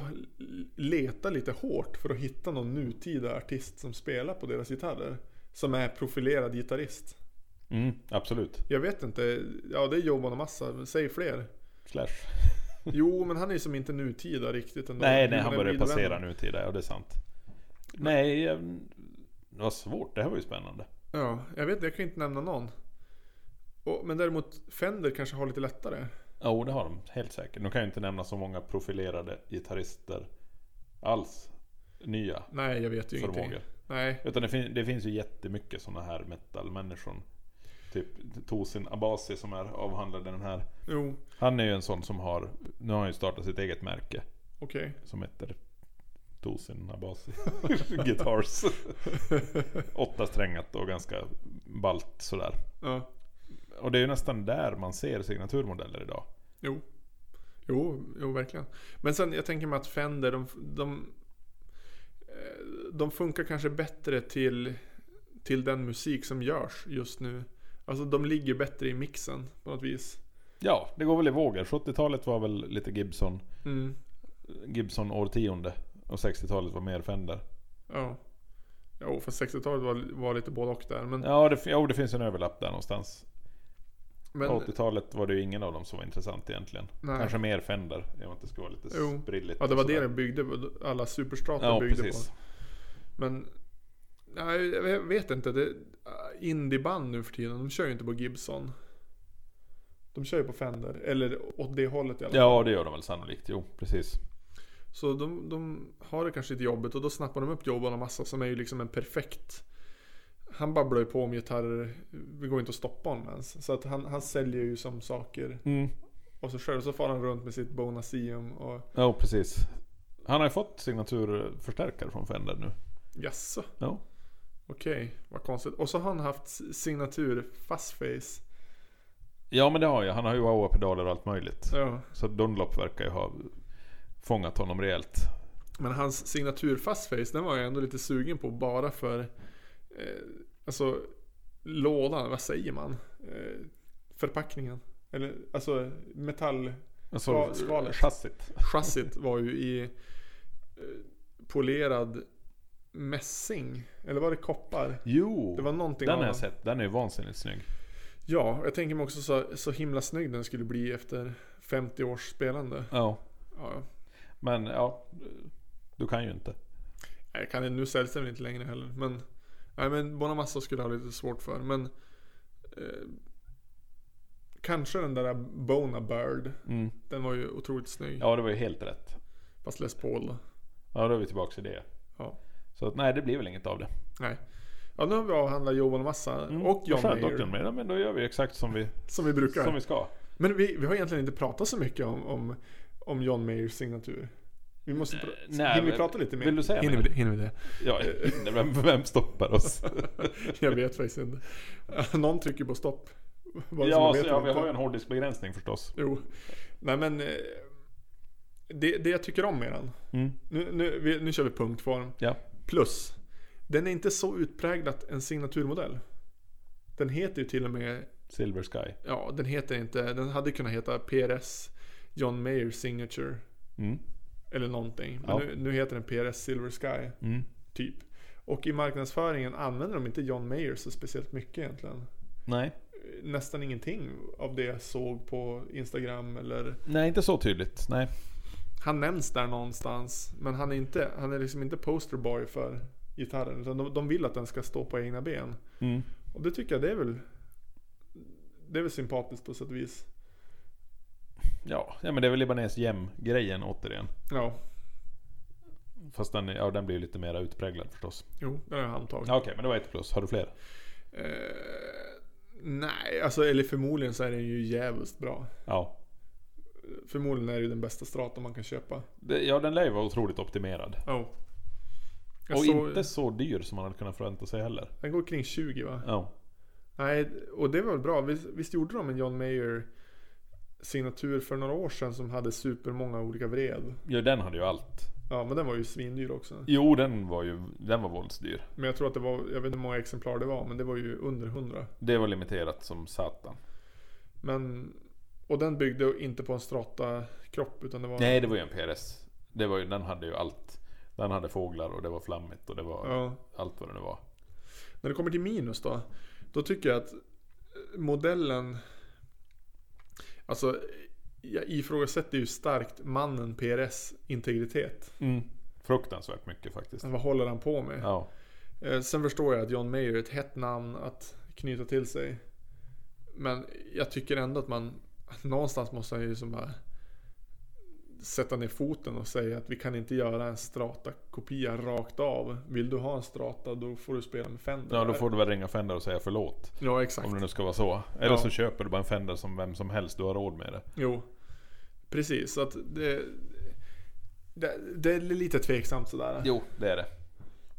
leta lite hårt för att hitta någon nutida artist som spelar på deras gitarrer. Som är profilerad gitarrist. Mm, absolut. Jag vet inte, ja det är Joe Bonamassa, säg fler. Slash. Jo men han är ju som inte nutida riktigt ändå. nej, nej, Human han börjar Breed passera Venom. nu till det, ja det är sant. Nej, jag- vad svårt. Det här var ju spännande. Ja, jag vet jag kan inte nämna någon. Och, men däremot Fender kanske har lite lättare. Ja, oh, det har de helt säkert. De kan ju inte nämna så många profilerade gitarrister alls. Nya Nej, jag vet ju förmågor. ingenting. Nej, Utan det, fin- det finns ju jättemycket sådana här metal-människor. Typ Tosin Abasi som är avhandlade den här. jo, Han är ju en sån som har, nu har han ju startat sitt eget märke okej. som heter Tosin Abasi Guitars. Åtta strängat och ganska balt sådär. Ja, Och det är ju nästan där man ser signaturmodeller idag. jo. jo. Jo, verkligen. Men sen jag tänker mig att Fender, de, de, eh, de funkar kanske bättre till, till den musik som görs just nu. Alltså de ligger bättre i mixen på något vis. Ja, det går väl i vågor. 70-talet var väl lite Gibson, Mm, Gibson årtionde. Och 60-talet var mer Fender. ja. Jo, för 60-talet var, var lite både och där. Men, Ja, det, jo, det finns en överlapp där någonstans. men, På 80-talet var det ju ingen av dem som var intressant egentligen. Nej. Kanske mer Fender, om att det skulle vara lite Jo. sprilligt. Ja, det var och det sådär. den byggde Alla superstater Ja, byggde precis. på. Men... Nej, jag vet inte. Det, indieband nu för tiden, de kör ju inte på Gibson. De kör ju på Fender. Eller åt det hållet i alla fall. Ja, det gör de väl sannolikt. Jo, precis. Så de, de har det kanske lite jobbigt och då snappar de upp jobben och massa som är ju liksom en perfekt... Han babblar ju på om gitarrer. Det går inte att stoppa honom ens. Så att han, han säljer ju som saker. Och så själv så far han runt med sitt Bonacium och... Ja, precis. Han har ju fått signaturförstärkare från Fender nu. Jaså? Ja. Okej, vad konstigt. Och så har han haft signatur fastface. ja, men det har jag. Han har ju Wawa-pedaler och allt möjligt. Ja. Så Dunlop verkar ju ha fångat honom rejält. Men hans signatur fastface, den var jag ändå lite sugen på bara för... Eh, alltså lådan, vad säger man? Eh, förpackningen. Eller alltså metall... Ska- skalet. Alltså, Chassit. Chassit var ju i eh, polerad mässing. Eller var det koppar? Jo, Det var någonting den av- har jag sett. Den är ju vansinnigt snygg. Ja, jag tänker mig också så, så himla snygg den skulle bli efter 50 års spelande. Ja, Ja, men ja. Du kan ju inte. Nej, jag kan det, nu säljs den väl inte längre heller. Men, nej, men Bonamassa skulle jag ha lite svårt för. Men eh, kanske den där Bona Bird. Mm. Den var ju otroligt snygg. Ja, det var ju helt rätt. Fast Les Paul då. Ja, då är vi tillbaka till det. Ja. Så att, nej, det blir väl inget av det. Nej. Ja, nu har vi avhandlat Joe Bonamassa Mm. och John Vad skönt, Mayer. och John Mayer. Ja, men då gör vi exakt som vi, Som vi brukar. som vi ska. Men vi, vi har egentligen inte pratat så mycket om, om, om John Mayers signatur. Vi måste pra- Eh, nej, hinner vi men- prata lite mer? vill du säga hinner, mer? vi, det- hinner vi det? Ja, hinner. vem, vem stoppar oss? Alltså, Jag vet faktiskt inte. Någon trycker på stopp. Vad som ja, vet så, ja, inte. vi har ju en hårddiskbegränsning förstås. Jo. Nej men. eh, Det, det jag tycker om med den. Mm. Nu, nu, vi, nu kör vi punktform. Ja. Plus. Den är inte så utpräglat en signaturmodell. Den heter ju till och med Silver Sky. Ja, den heter inte, den hade kunnat heta PRS John Mayer Signature. Mm. Eller någonting. Men Ja. nu, nu heter den PRS Silver Sky, Mm. typ. Och i marknadsföringen använder de inte John Mayer så speciellt mycket egentligen. Nej. Nästan ingenting av det jag såg på Instagram eller... Nej, inte så tydligt. Nej. Han nämns där någonstans. Men han är, inte, han är liksom inte posterboy för gitarren. Utan de, de vill att den ska stå på egna ben. Mm. Och det tycker jag det är väl... Det är väl sympatiskt på sätt och vis. Ja. ja, men det är väl Libanes gem-grejen återigen. Ja, Fast den, är- ja, den blir ju lite mer utpräglad förstås. jo, det har jag handtag. Ja, Okej, men det var ett plus. Har du fler? Eh, nej, alltså eller förmodligen så är den ju jävligt bra. Ja. Förmodligen är det ju den bästa stratan man kan köpa. Det, ja, den lär ju vara otroligt optimerad. Ja. Jag Och såg- inte så dyr som man hade kunnat förvänta sig heller. Den går kring 20 va? Ja. Nej, och det var väl bra. Visst, visst gjorde de en John Mayer signatur för några år sedan som hade supermånga olika vred. ja, den hade ju allt. Ja, men den var ju svindyr också. Jo, den var ju den var våldsdyr. Men jag tror att det var, jag vet inte hur många exemplar det var, men det var ju under 100. Det var limiterat som satan. Men, och den byggde inte på en strata-kropp utan det var... Nej, det var ju en PRS. Det var ju, den hade ju allt. Den hade fåglar och det var flammigt och det var Ja. allt vad det nu var. När det kommer till minus då. Då tycker jag att modellen... Alltså, jag ifrågasätter ju starkt mannen PRS integritet. Fruktansvärt mycket faktiskt. Vad håller han på med? Ja. Eh, Sen förstår jag att John Mayer är ett hett namn att knyta till sig. Men jag tycker ändå att man att någonstans måste han ju som bara sätta ner foten och säga att vi kan inte göra en strata-kopia rakt av. Vill du ha en strata då får du spela med Fender. ja, då får du väl ringa Fender och säga förlåt. ja exakt. Om det nu ska vara så. Eller Ja. så köper du bara en Fender som vem som helst. Du har råd med det. Jo, precis. Så att det, det, det är lite tveksamt sådär. Jo, det är det.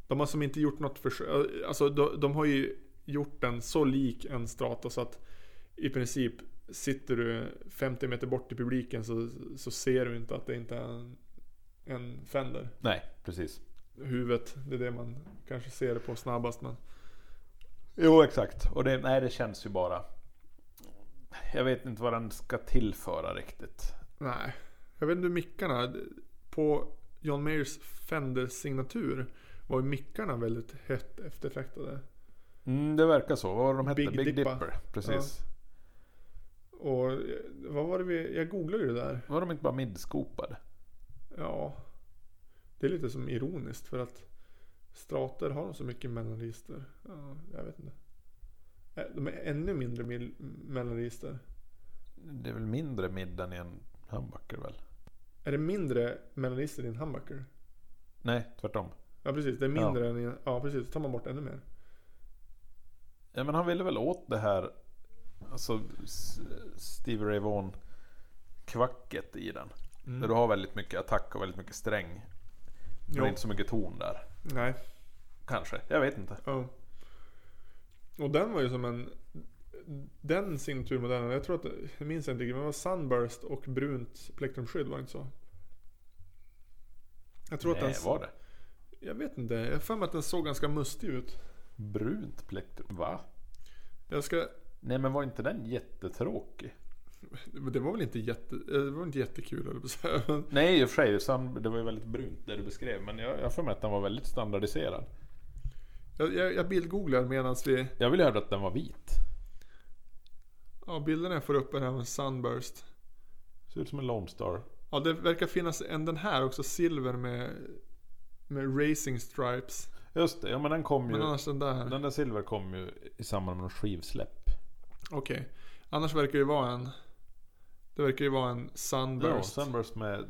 De har som inte gjort något försök. Alltså de, de har ju gjort den så lik en strata så att i princip sitter du 50 meter bort i publiken så, så ser du inte att det inte är en, en Fender. Nej, precis. Huvudet, det är det man kanske ser det på snabbast. Men Jo, exakt. Och det, nej, det känns ju bara... Jag vet inte vad den ska tillföra riktigt. nej, jag vet inte hur mickarna. På John Mayers Fender-signatur var ju mickarna väldigt hett eftertraktade. Mm, det verkar så. Vad var det de hette? Big Big, Dippa. Dipper. Precis. Och eh, vad var det vi, jag googlade ju det där. Var de inte bara midskopade? Ja. Det är lite som ironiskt för att strater har de så mycket mellanregister. Ja, jag vet inte. Eh, De är ännu mindre mil- mellanregister. Det är väl mindre midden i en humbucker väl? Är det mindre mellanregister i en humbucker? Nej, tvärtom. Ja precis, det är mindre än i en... Ja precis, då tar man bort ännu mer. Ja, men han ville väl åt det här... Alltså S- Stevie Ray Vaughan-kvacket i Mm. den. Där du har väldigt mycket attack och väldigt mycket sträng. Men Jo, inte så mycket ton där. nej. Kanske. Jag vet inte. Ja. Och den var ju som en... Den signaturmodellen, jag tror att... det- Jag minns inte riktigt, men det var Sunburst och brunt plektrumskydd, var det inte så? Jag tror att Nej, den... var det? Jag vet inte. Jag har för mig att den såg ganska mustig ut. Brunt plektrum? Va? Jag ska... Nej men var inte den jättetråkig? Det var väl inte, jätte... eh, det var inte jättekul höll jag på att säga. Men- Nej i och för sig, Sam- det var ju väldigt brunt det du beskrev. Men jag jag har för mig att den var väldigt standardiserad. Jag, jag, jag bildgooglar medan vi... Jag ville höra att den var vit. Ja, bilderna jag får upp är här med Sunburst. Ser ut som en Lone Star. Ja, det verkar finnas en den här också. Silver med... Med racing stripes. Just det, ja men den kom ju. Men annars den där. Den där silver kom ju i samband med något skivsläpp. Okej. Annars verkar det ju vara en... Det verkar ju vara en Ja, Sunburst. Sunburst med,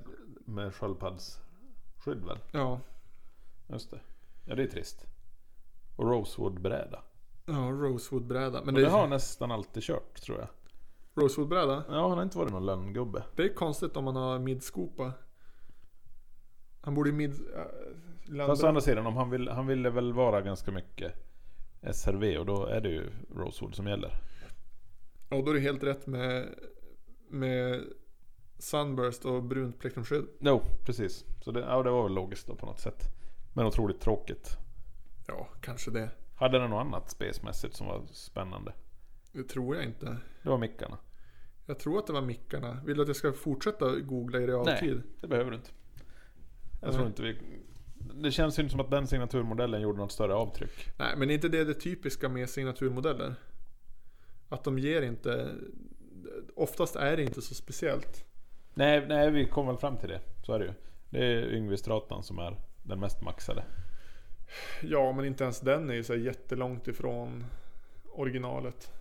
med sköldpaddsskydd väl? Ja. Just det. Ja det är trist. Och Rosewood-bräda. Ja, Rosewood-bräda. Men Och det, det har han nästan alltid kört tror jag. Rosewood-bräda? Ja han har inte varit någon lönngubbe. Det är konstigt om man har midskopa. Han borde ju mid... Äh, landa- Fast å andra sidan, om han, vill, han ville väl vara ganska mycket SRV och då är det ju Rosewood som gäller. Ja, då är det helt rätt med, med Sunburst och brunt plektrumskydd. Jo, precis. Så det, ja, det var väl logiskt då på något sätt. Men otroligt tråkigt. Ja, kanske det. Hade den något annat spesmässigt som var spännande? Det tror jag inte. Det var mickarna. Jag tror att det var mickarna. Vill du att jag ska fortsätta googla i realtid? Det behöver du inte. Jag tror Nej. inte vi... Det känns ju inte som att den signaturmodellen gjorde något större avtryck. Nej, men är inte det det typiska med signaturmodeller? Att de ger inte... Oftast är det inte så speciellt. Nej, nej vi kom väl fram till det. Så är det ju. Det är Yngve-stratan som är den mest maxade. Ja, men inte ens den är ju så här jättelångt ifrån originalet.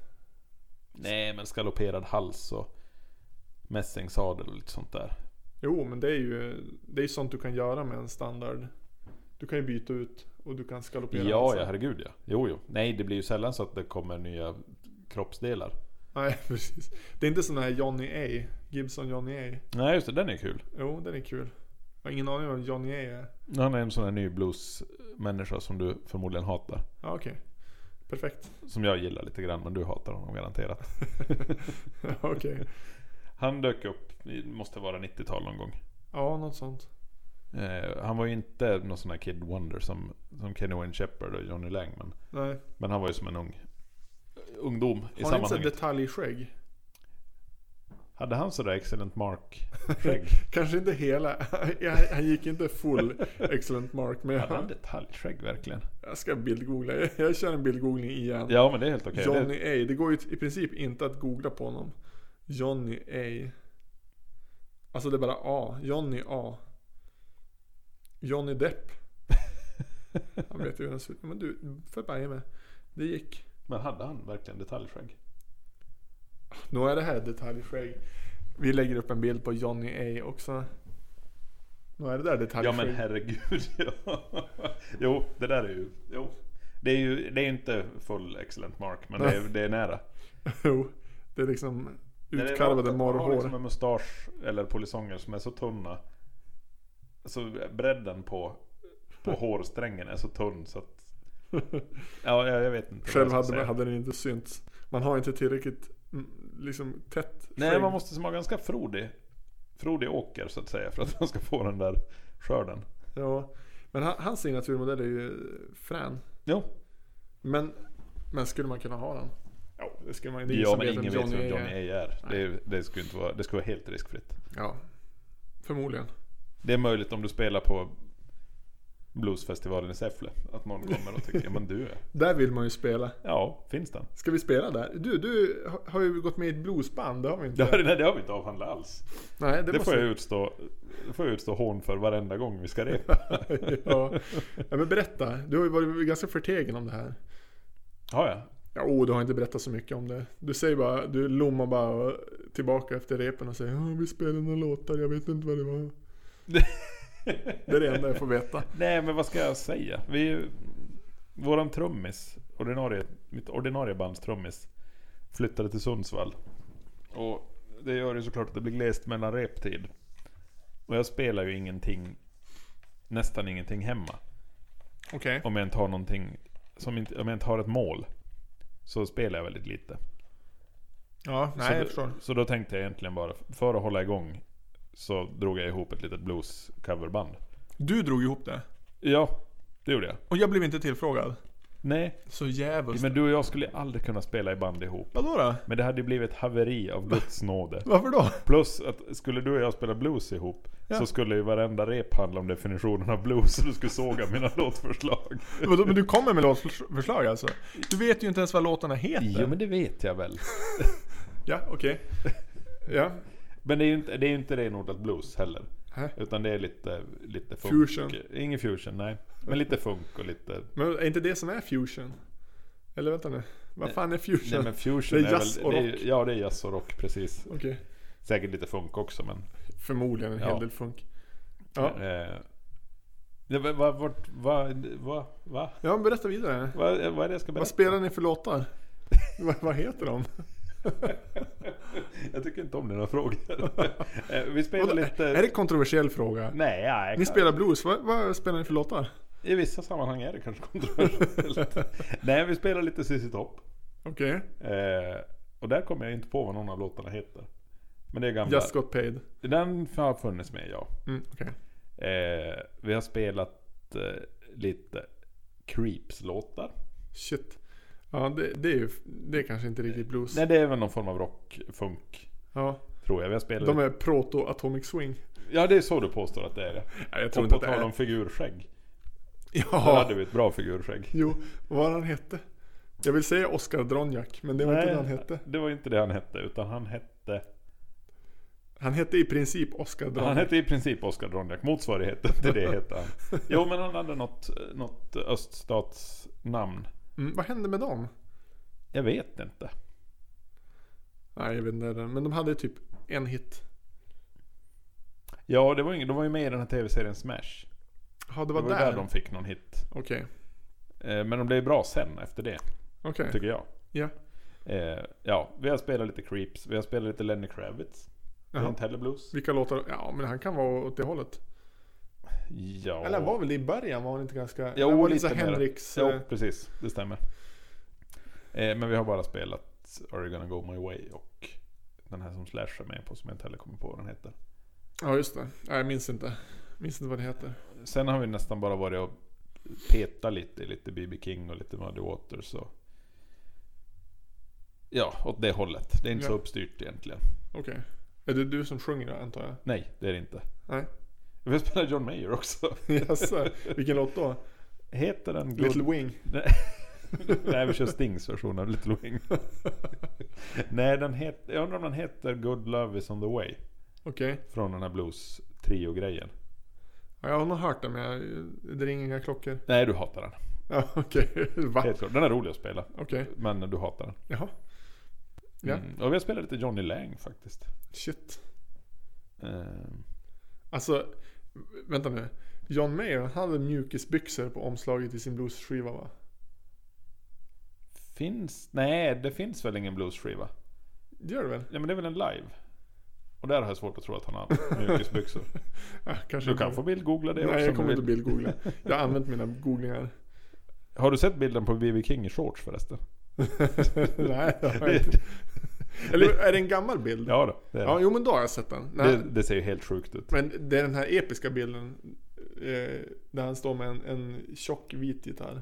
Nej, men skaloperad hals och mässingssadel och lite sånt där. Jo, men det är ju det är ju sånt du kan göra med en standard. Du kan ju byta ut och du kan alltså. Ja, skalopera. ja, halsen. herregud ja. Jo, jo. Nej, det blir ju sällan så att det kommer nya kroppsdelar. Nej, precis. Det är inte sån här Johnny A. Gibson Johnny A. Nej, just det. Den är kul. Jo, den är kul. Jag har ingen aning om Johnny A är. Han är en sån här ny bluesmänniska som du förmodligen hatar. Ja, okej. Perfekt. Som jag gillar lite grann, men du hatar honom garanterat. Ja, okej. Han dök upp, i- måste vara 90-tal någon gång. Ja, något sånt. Eh, han var ju inte någon sån här Kid Wonder som, som Kenny Wayne Shepherd och Johnny Langman. Nej. Men han var ju som en ung ungdom i Har han inte så här sammanhanget. detaljskägg? Hade han sådär excellent mark skägg? Kanske inte hela. Han- Han gick inte full excellent mark. Men Hade han jag, detaljskägg verkligen? jag ska bildgoogla. Jag- Jag kör en bildgoogling igen. Ja men det är helt okej. Det- Johnny A. Det går ju i princip inte att googla på honom. Johnny A. Alltså det är bara A. Johnny A. Johnny Depp. Han vet ju hur den ser ut. Men du, för börja med. Det gick. Men hade han verkligen detaljskägg? Nu är det här detaljskägg. Vi lägger upp en bild på Johnny A också. Nu är det där Ja detaljskägg. men herregud. ja. jo, det där är ju... Jo. Det är ju det är ju inte full excellent mark, men det är, det är nära. Jo, det är liksom När det är utkarvade rakt- Man har liksom morrhår. en mustasch eller polisonger som är så tunna. Alltså bredden på, på Mm. hårsträngen är så tunn så att... Ja, jag, jag vet inte. vad Själv jag ska hade, säga. hade den inte synts. Man har inte tillräckligt mm, liksom tätt Nej, skägg. man måste vara ganska frodig. Frodig åker så att säga för att man ska få den där skörden. Ja, men han, hans signaturmodell är ju frän. Jo. Men, men skulle man kunna ha den? Ja, det skulle man ju. Det är Ja, som men vet vem ingen vet vem är. Johnny A är. Det, är- det, skulle inte vara, det skulle vara helt riskfritt. Ja, förmodligen. Det är möjligt om du spelar på Bluesfestivalen i Säffle. Att någon kommer och tycker ja men du är... Där vill man ju spela. Ja, finns den? Ska vi spela där? Du, du har- har ju gått med i ett bluesband, det har vi inte. Ja, nej, det har vi inte avhandlat alls. Nej, det, Det, måste får, jag vi. utstå, det får jag utstå hån för varenda gång vi ska repa. ja. ja, men berätta. Du har ju varit ganska förtegen om det här. Har jag? Ja, oh, du har inte berättat så mycket om det. Du säger bara, du lommar bara tillbaka efter repen och säger ja, vi spelade några låtar, jag vet inte vad det var. Det är det enda jag får veta. Nej, men vad ska jag säga? Vi, våran trummis, ordinarie, mitt ordinarie bands trummis, flyttade till Sundsvall. Och det gör ju såklart att det blir glest mellan reptid. Och jag spelar ju ingenting, nästan ingenting hemma. Okej. Om jag inte har någonting, som inte, om jag inte har ett mål. Så spelar jag väldigt lite. Ja, nej så, jag då- förstår. så då tänkte jag egentligen bara, för att hålla igång så drog jag ihop ett litet blues-coverband. Du drog ihop det. Ja, det gjorde jag. Och jag blev inte tillfrågad. Nej, Så djävulskt. men du och jag skulle aldrig kunna spela i band ihop. Vadå då? Men det hade ju blivit ett haveri av Guds nåde. Varför då? Plus att skulle du och jag spela blues ihop Ja. så skulle ju varenda rep handla om definitionen av blues och du skulle såga mina låtförslag. Vadå, Men du kommer med låtförslag alltså? Du vet ju inte ens vad låtarna heter. Jo men det vet jag väl. Ja, okej. Ja. Men det är ju inte, det är ju inte renodlat blues heller. Hä? Utan det är lite, lite funk. Fusion. Ingen fusion, nej. Men lite funk och lite... Men är inte det som är fusion? Eller vänta nu. Vad fan är fusion? Nej men fusion Det är är, jazz väl... och det är- rock. Ja det är jazz och rock, precis. Okej. Säkert lite funk också men... Förmodligen en Ja. hel del funk. Ja. Eh, ja, men vad, vart, vad, vad, vad, ja, men berätta vidare. vad, vad är det jag ska berätta? Vad spelar ni för låtar? vad, vad heter de? Jag tycker inte om dina frågor. Eh, Vi spelar Vadå, lite... Är det en kontroversiell fråga? Nej, nej. Ni spelar blues, vad, vad spelar ni för låtar? I vissa sammanhang är det kanske kontroversiellt. nej, vi spelar lite ZZ Top. Okej. Eh, och där kommer jag inte på vad någon av låtarna heter. Men det är gamla. Just got paid. Den har funnits med, ja. Mm, okej. Eh, vi har spelat eh, lite Creeps-låtar. Shit. Ja, det, det är ju det är kanske inte riktigt blues. Nej det är väl någon form av rock, funk Ja, tror jag. Vi har spelat de är proto-atomic swing. Ja det är så du påstår att det är det. Nej, jag Och på tal om figurskägg. Då Ja, hade vi ett bra figurskägg. jo. Vad var han hette? Jag vill säga Oscar Dronjak, men det var inte det han hette. det var inte det han hette. Utan han hette... Han hette i princip Oscar Dronjak. Han hette i princip Oskar Dronjak. Motsvarigheten till det hette han. Jo men han hade något, eh, något öststatsnamn. Mm, vad hände med dem? Jag vet inte. Nej, jag vet inte. Men de hade typ en hit. Ja, det var ingen, de var ju med i den här tv-serien Smash. Ja, det Det var, var, där. där de fick någon hit. Okej. Eh, Men de blev bra sen efter det, Okej. tycker jag. Ja. Eh, ja, vi har spelat lite Creeps, vi har spelat lite Lenny Kravitz. Det är Jaha. inte heller blues. Vilka låtar? Ja, men han kan vara åt det hållet. Ja. Eller var väl det i början? Var han inte ganska... Jo, han var lite lite så mer. Henriks... Jo, eh, precis. Det stämmer. Eh, men vi har bara spelat Are You Gonna Go My Way och den här som Slash är med på som jag inte heller kommer på vad den heter. Ja, just det. Nej, jag minns inte. Minns inte vad det heter. Sen har vi nästan bara varit och petat lite i lite B.B. King och lite Muddy Waters och... Ja, åt det hållet. Det är inte Ja. så uppstyrt egentligen. Okej. Är det du som sjunger då, antar jag? Nej, det är det inte. Nej. Vi har spelat John Mayer också. Jaså? Vilken låt då? Heter den Good... Little Wing? Nej, vi kör Stings version av Little Wing. Nej, den heter... Jag undrar om den heter Good Love Is On The Way. Okej. Från den här blues trio-grejen. Ja, jag har nog hört den men jag, det ringer inga klockor. Nej, du hatar den. Ja, okej. Va? Helt klart. Den är rolig att spela. Okej. Men du hatar den. Jaha. Ja. Mm. Och vi har spelat lite Johnny Lang faktiskt. Shit. Ehm, Alltså, vänta nu. John Mayer han hade mjukisbyxor på omslaget i sin bluesskiva va? finns... Nej, det finns väl ingen bluesskiva? Det gör det väl? Ja, men det är väl en live? Och där har jag svårt att tro att han har mjukisbyxor. Ja, kanske Du kan inte. få bildgoogla det också. Nej, om jag du kommer vill. inte bildgoogla. Jag har använt mina googlingar. Har du sett bilden på B.B. King i shorts förresten? Nej, det har jag inte. Eller är det en gammal bild? Ja då, det, är Ja, jo men då har jag sett den. det. Nej, det, det ser ju helt sjukt ut. Men det är den här episka bilden. Eh, där han står med en, en tjock vit gitarr.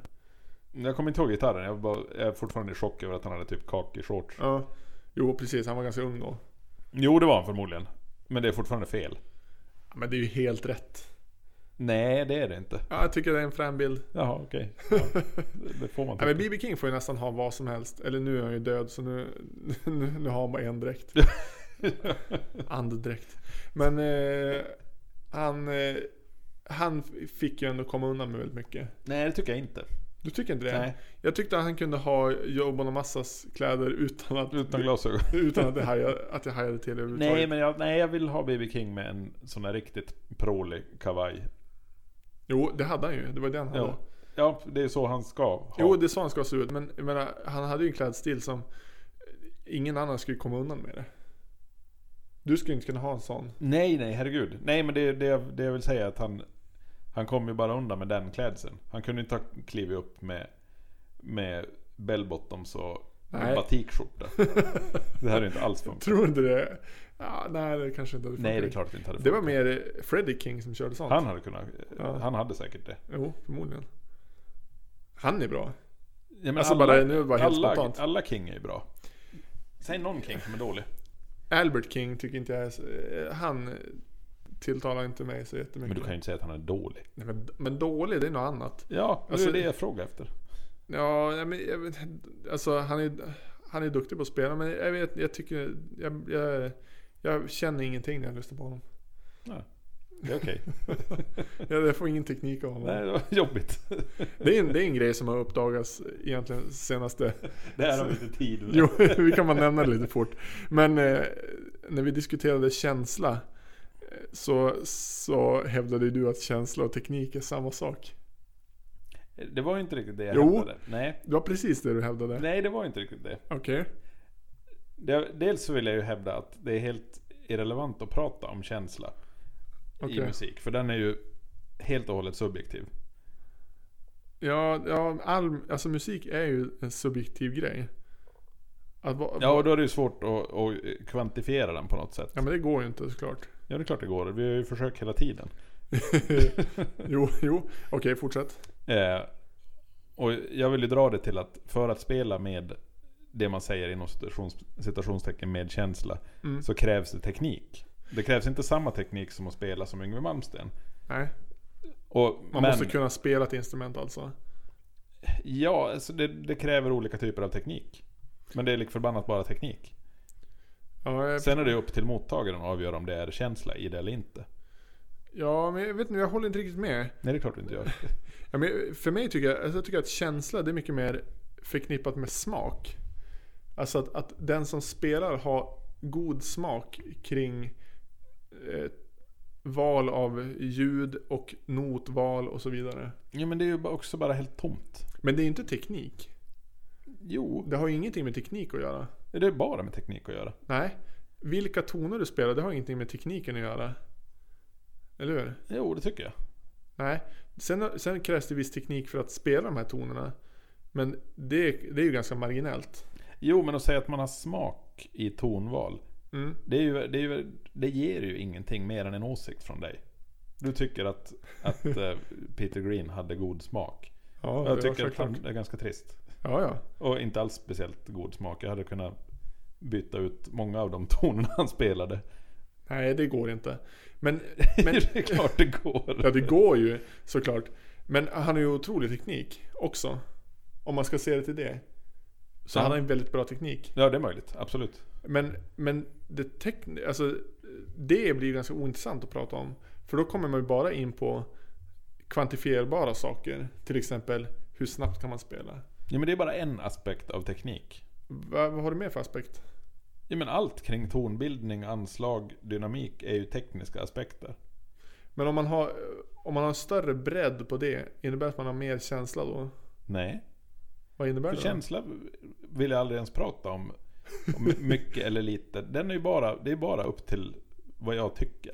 Jag kommer inte ihåg gitarren, jag, bara, jag är fortfarande i chock över att han hade typ kak i shorts. Ja. Jo precis, han var ganska ung då. Jo, det var han förmodligen. Men det är fortfarande fel. Ja, Men det är ju helt rätt. Nej, det är det inte. Ja, jag tycker det är en frän bild. Jaha, okej. Ja, det- det får man Nej, men tycka. B.B. King får ju nästan ha vad som helst. Eller nu är han ju död så nu, nu, nu har han bara en dräkt. Andedräkt. Men eh, han, eh, han fick ju ändå komma undan med väldigt mycket. Nej, det tycker jag inte. Du tycker inte det? Nej, Jag tyckte att han kunde ha Joe Bonamassas kläder utan att, utan glasögon. utan att, det hajade, att jag hajade till överhuvudtaget. Nej, men jag, nej, jag vill ha B.B. King med en sån där riktigt prålig kavaj. Jo, det hade han ju. Det var det han hade. Ja. ja, det är så han ska ha. Jo, det är så han ska se ut. Men jag menar, han hade ju en klädstil som ingen annan skulle komma undan med det. Du skulle inte kunna ha en sån. Nej, nej, herregud. Nej, men det, det, det jag vill säga är att han, han kom ju bara undan med den klädseln. Han kunde inte ha klivit upp med, med bellbottoms och Nej. batikskjorta. Det hade inte alls funkat. Tror du inte det? Ja, nej, det kanske inte hade Nej, det är funkat. klart det inte hade Det var funkat. mer eh, Freddie King som körde sånt. Han hade kunnat, Ja. han hade säkert det. Jo, förmodligen. Han är bra. Ja, men alltså alla, bara nu, bara helt alla, spontant. alla King är ju bra. Säg någon King som är dålig. Albert King tycker inte jag är... så- eh, Han eh, tilltalar inte mig så jättemycket. Men du kan ju inte säga att han är dålig. Nej, men, men dålig, det är något annat. Ja, Alltså- det är det jag frågar efter. Ja, nej, men jag vet, alltså han är, han är duktig på att spela men jag vet, jag tycker, jag, jag, jag känner ingenting när jag lyssnar på honom. Det är okej. Jag, jag får ingen teknik av honom. Nej, det var jobbigt. Det, är en, det är en grej som har uppdagats egentligen senaste... Det här har vi inte tid med. Jo, vi kan bara nämna det lite fort. Men eh, när vi diskuterade känsla eh, så, så hävdade du att känsla och teknik är samma sak. Det var ju inte riktigt det jag Jo. hävdade. Nej. Det var precis det du hävdade. Nej, det var inte riktigt det. Okej. det. Dels så vill jag ju hävda att det är helt irrelevant att prata om känsla i Okej. musik. För den är ju helt och hållet subjektiv. Ja, ja all, alltså musik är ju en subjektiv grej. Att va, Ja, och då är det ju svårt att, att kvantifiera den på något sätt. ja, men det går ju inte såklart. Ja, det är klart det går. Vi har ju försökt hela tiden. jo, jo. Okej, fortsätt. Eh, Och jag vill ju dra det till att för att spela med det man säger inom citations- citationstecken med känsla Mm. så krävs det teknik. Det krävs inte samma teknik som att spela som Yngwie Malmsteen. Nej, Och, man men, måste kunna spela ett instrument alltså. Ja, alltså det, det kräver olika typer av teknik. Men det är lik förbannat bara teknik. Ja, jag, Sen är det upp till mottagaren att avgöra om det är känsla i det eller inte. ja, men jag vet inte, jag håller inte riktigt med. Nej, det är klart du inte gör. Ja, men för mig tycker jag, alltså jag tycker att känsla det är mycket mer förknippat med smak. Alltså att, att den som spelar har god smak kring eh, val av ljud och notval och så vidare. Ja, men det är ju ba- också bara helt tomt. Men det är ju inte teknik. Jo, Det har ju ingenting med teknik att göra. det är bara med teknik att göra. Nej. Vilka toner du spelar, det har ingenting med tekniken att göra. Eller hur? Jo, det tycker jag. Nej. Sen, sen krävs det viss teknik för att spela de här tonerna. Men det, det är ju ganska marginellt. Jo, men att säga att man har smak i tonval. Mm. Det, är ju, det, är ju, det ger ju ingenting mer än en åsikt från dig. Du tycker att, att eh, Peter Green hade god smak. Ja, jag det tycker var att han är ganska trist. Ja, ja. Och inte alls speciellt god smak. Jag hade kunnat byta ut många av de tonerna han spelade. Nej, det går inte. Men, Men men det är klart det går. ja, det går ju såklart. Men han har ju otrolig teknik också. Om man ska se det till det. Så Ja. han har en väldigt bra teknik. Ja, det är möjligt. Absolut. Men, men det, tekn- alltså, det blir ju ganska ointressant att prata om. För då kommer man ju bara in på kvantifierbara saker. Till exempel, hur snabbt kan man spela? Ja, men det är bara en aspekt av teknik. Va, vad har du mer för aspekt? Ja, men allt kring tonbildning, anslag, dynamik är ju tekniska aspekter. Men om man har, om man har större bredd på det, innebär det att man har mer känsla då? Nej. Vad innebär För det? då? känsla vill jag aldrig ens prata om. om mycket eller lite. Den är ju bara, det är bara upp till vad jag tycker.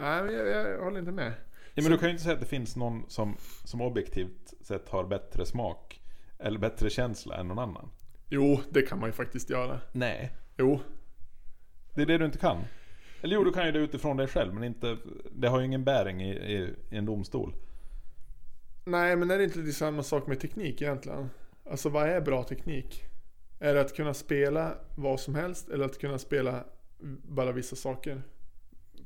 Nej, men jag, jag håller inte med. Ja, men du kan ju inte säga att det finns någon som, som objektivt sett har bättre smak eller bättre känsla än någon annan. Jo, det kan man ju faktiskt göra. Nej. Jo. Det är det du inte kan. Eller jo, du kan ju det utifrån dig själv, men inte, det har ju ingen bäring i, i, i en domstol. Nej, men är det inte samma sak med teknik egentligen? Alltså, vad är bra teknik? Är det att kunna spela vad som helst eller att kunna spela bara vissa saker?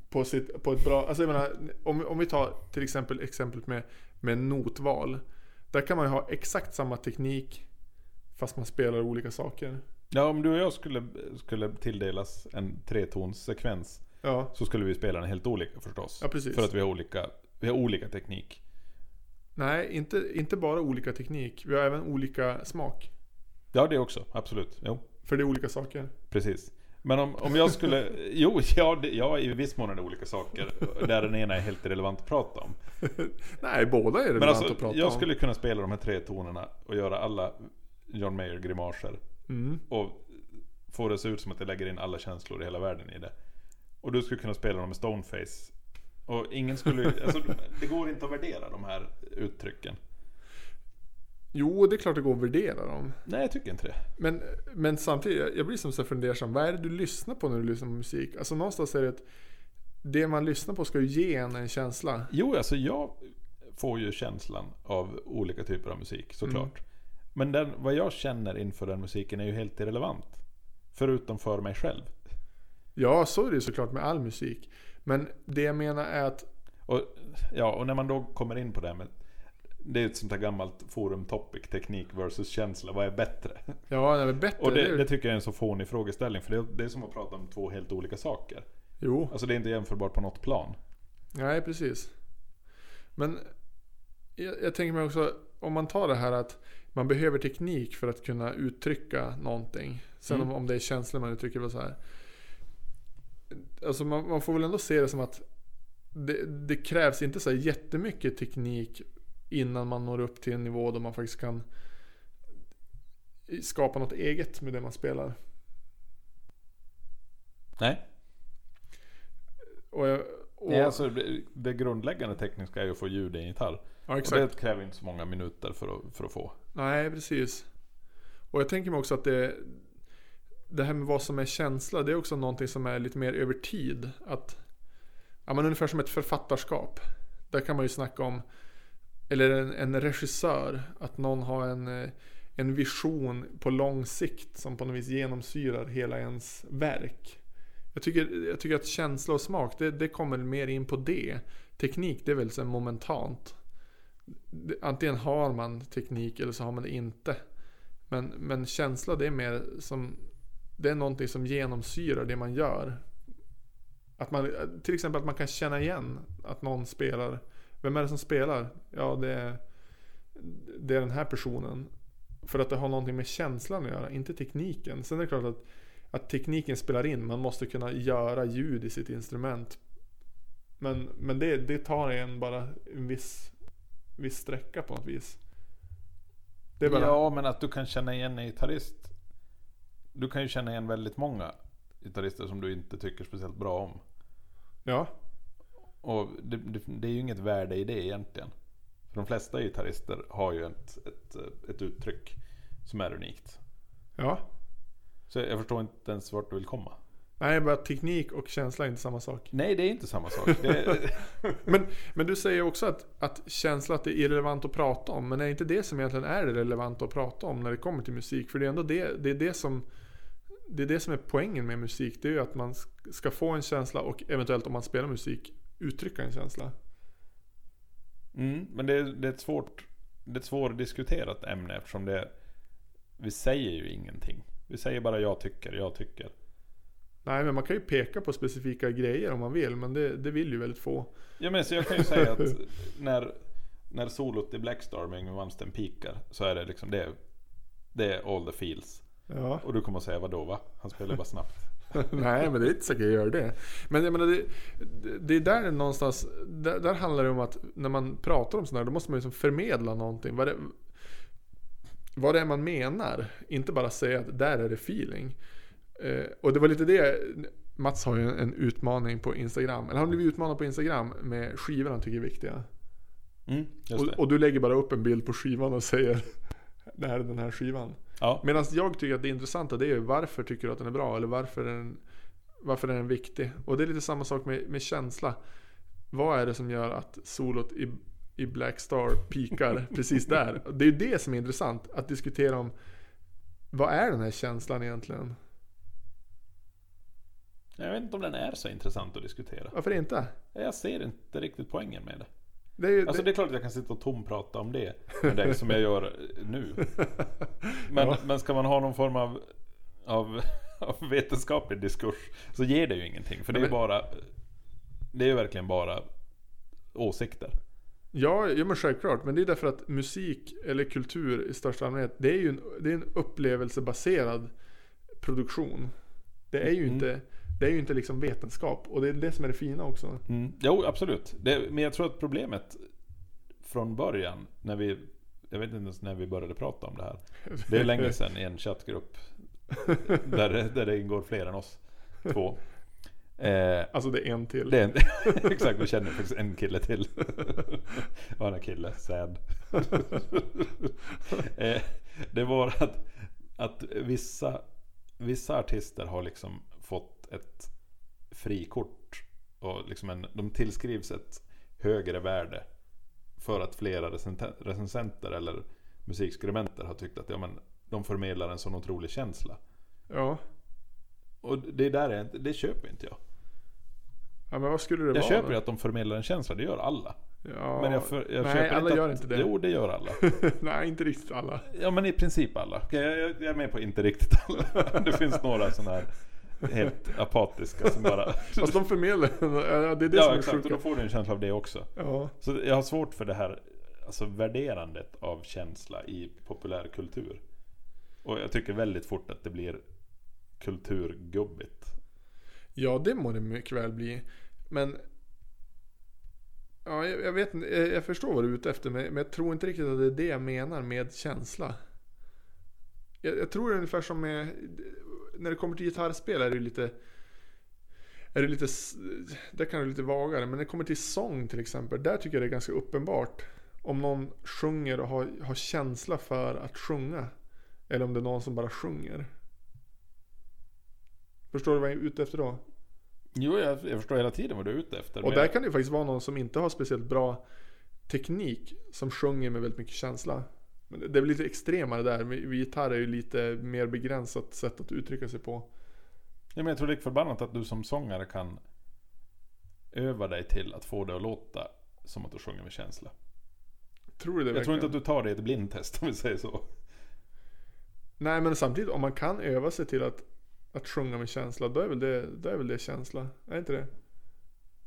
På, sitt, på ett bra... Alltså jag menar, om, om vi tar till exempel exemplet med, med notval. Där kan man ju ha exakt samma teknik fast man spelar olika saker. Ja, om du och jag skulle, skulle tilldelas en tretonssekvens Ja, så skulle vi spela den helt olika förstås. ja precis. För att vi har olika, vi har olika teknik. Nej, inte, inte bara olika teknik. Vi har även olika smak. Ja, det också. Absolut. Jo, För det är olika saker. precis. Men om, om jag skulle... jo, ja, det, ja, i viss mån är det olika saker. Där den ena är helt irrelevant att prata om. Nej, båda är relevant Men alltså, att prata jag om. skulle kunna spela de här tre tonerna och göra alla John Mayer-grimaser. Mm. Och få det att se ut som att jag lägger in alla känslor i hela världen i det. Och du skulle kunna spela dem med Stoneface. Och ingen skulle... Alltså, det går inte att värdera de här uttrycken. Jo, det är klart det går att värdera dem. Nej, jag tycker inte det. Men, men samtidigt, jag- jag blir som så här fundersam. Vad är det du lyssnar på när du lyssnar på musik? Alltså någonstans är det att det man lyssnar på ska ju ge en en känsla. Jo, alltså jag får ju känslan av olika typer av musik såklart. Men den, vad jag känner inför den musiken är ju helt irrelevant. Förutom för mig själv. Ja, så är det ju såklart med all musik. Men det jag menar är att, Och, ja, och när man då kommer in på det här med... Det är ett sånt här gammalt forum topic, teknik versus känsla. Vad är bättre? ja, nej, men bättre. Och är ju- det, det tycker jag är en så fånig frågeställning. För det, det är som att prata om två helt olika saker. jo, Alltså det är inte jämförbart på något plan. nej precis. Men jag, jag tänker mig också, om man tar det här att man behöver teknik för att kunna uttrycka någonting. Sen Mm. om, om det är känslor man uttrycker eller så här. Alltså man, man får väl ändå se det som att det, det krävs inte så här jättemycket teknik innan man når upp till en nivå där man faktiskt kan skapa något eget med det man spelar. Nej. Och jag, och, Nej, alltså, det, det grundläggande tekniska är ju att få ljud i en gitarr. ja, Och exakt. det kräver inte så många minuter för att, för att få. Nej, precis. Och jag tänker mig också att det, det här med vad som är känsla, det är också någonting som är lite mer över tid. Att, ja, men ungefär som ett författarskap. Där kan man ju snacka om eller en, en regissör, att någon har en, eh, en vision på lång sikt som på något vis genomsyrar hela ens verk. Jag tycker, jag tycker att känsla och smak, det, det kommer mer in på det. Teknik, det är väl så här momentant. Det- Antingen har man teknik eller så har man det inte. Men, men känsla, det är mer som... Det är någonting som genomsyrar det man gör. Att man, till exempel att man kan känna igen att någon spelar. Vem är det som spelar? Ja, det är, det är den här personen. För att det har någonting med känslan att göra, inte tekniken. Sen är det klart att, att tekniken spelar in. Man måste kunna göra ljud i sitt instrument. Men, men det, det tar en bara en viss, viss sträcka på något vis. Det är bara, Ja, men att du kan känna igen en gitarrist. Du kan ju känna igen väldigt många gitarrister som du inte tycker speciellt bra om. ja. Och det, det, det är ju inget värde i det egentligen. För de flesta gitarrister har ju ett, ett, ett uttryck som är unikt. Ja. Så jag förstår inte ens vart du vill komma. Nej, bara teknik och känsla är inte samma sak. Nej, det är inte samma sak. Det, Men, men du säger också att, att känsla att det är irrelevant att prata om. Men är inte det som egentligen är det relevanta att prata om när det kommer till musik? För det är ändå det, det, är det som det är det som är poängen med musik. Det är ju att man sk- ska få en känsla och eventuellt om man spelar musik uttrycka en känsla. mm, men det, är- det är ett svårt det är ett svårdiskuterat ämne eftersom det vi säger ju ingenting. Vi säger bara jag tycker, jag tycker. Nej, men man kan ju peka på specifika grejer om man vill, men det, det vill ju väldigt få. Ja men så jag kan ju säga att när, när solot i Blackstar med Yngwie Malmsteen pikar så är det liksom det, det är all the feels. Ja. Och du kommer att säga vadå va? Han spelar ju bara snabbt. Nej, men det är inte säkert jag gör det. Men jag menar, det, det- det är där någonstans, där, där handlar det om att när man pratar om sådana här, då måste man liksom förmedla någonting. Vad det, vad det är man menar. Inte bara säga att där är det feeling. Eh, och det var lite det, Mats har ju en, en utmaning på Instagram. Eller han blev utmanad på Instagram med skivor han tycker är viktiga. Mm, just Och, det. och du lägger bara upp en bild på skivan och säger det här är den här skivan. Ja, Medan jag tycker att det intressanta det är ju varför tycker du att den är bra eller varför är den, varför är den viktig? Och det är lite samma sak med, med känsla. Vad är det som gör att solot i, i Black Star pikar precis där? Det är ju det som är intressant. Att diskutera om vad är den här känslan egentligen? jag vet inte om den är så intressant att diskutera. Varför inte? Jag ser inte riktigt poängen med det. Det är ju, Alltså det, det är klart att jag kan sitta och tomprata om det med dig som jag gör nu. Men, Ja. men ska man ha någon form av, av, av vetenskaplig diskurs så ger det ju ingenting. För det är ju Men- bara, det är ju verkligen bara åsikter. ja, ja, men självklart. Men det är därför att musik eller kultur i största allmänhet, det är ju en, det är en upplevelsebaserad produktion. Det är ju Mm. inte, det är ju inte liksom vetenskap. Och det är det som är det fina också. Mm. Jo, absolut. Det, men jag tror att problemet från början, när vi, jag vet inte ens när vi började prata om det här. Det är länge sedan i en chattgrupp där, det- där det ingår fler än oss två. Eh, Alltså det är en till. Det är en, exakt, vi känner faktiskt en kille till. Och en kille, sad. Eh, det var att, att vissa, vissa artister har liksom fått ett frikort. Och liksom en, de tillskrivs ett högre värde. För att flera recensent- recensenter eller musikskribenter har tyckt att ja, men, de förmedlar en sån otrolig känsla. Ja. Och det, är där jag, inte- det köper inte jag. ja, men vad skulle det vara? Jag köper ju då? att de förmedlar en känsla, det gör alla. Ja. Men jag, för, jag Nej, köper alla inte gör att, inte det. Jo, det gör alla. Nej, inte riktigt alla. Ja, men i princip alla. Okej, jag, jag, jag är med på inte riktigt alla. Det finns några sådana här helt apatiska som bara... Fast de förmedlar ja, Det är det som ja, är exakt. Och då sjukt. får du en känsla av det också. Ja. Så jag har svårt för det här alltså värderandet av känsla i populärkultur. Och jag tycker väldigt fort att det blir kulturgubbigt. ja, det må det mycket väl bli. Men... Ja, jag, jag vet inte. Jag jag förstår vad du är ute efter. Men men jag tror inte riktigt att det är det jag menar med känsla. Jag, jag tror det är ungefär som med... När det kommer till gitarrspel är det ju lite... Är det lite... s- Där kan det vara lite vagare. Men när det kommer till sång till exempel. Där tycker jag det är ganska uppenbart. Om någon sjunger och har, har känsla för att sjunga. Eller om det är någon som bara sjunger. Förstår du vad jag är ute efter då? Jo, jag, jag förstår hela tiden vad du är ute efter. Och men- där kan det ju faktiskt vara någon som inte har speciellt bra teknik som sjunger med väldigt mycket känsla. Men det- det blir lite extremare där. men Gitarr är ju lite mer begränsat sätt att uttrycka sig på. Ja, men jag tror det är förbannat att du som sångare kan öva dig till att få det att låta som att du sjunger med känsla. Tror du det Jag tror inte verkligen? att du tar det i ett blindtest om vi säger så. Nej men samtidigt om man kan öva sig till att, att sjunga med känsla. Då är, väl det, då är väl det känsla? Är inte det?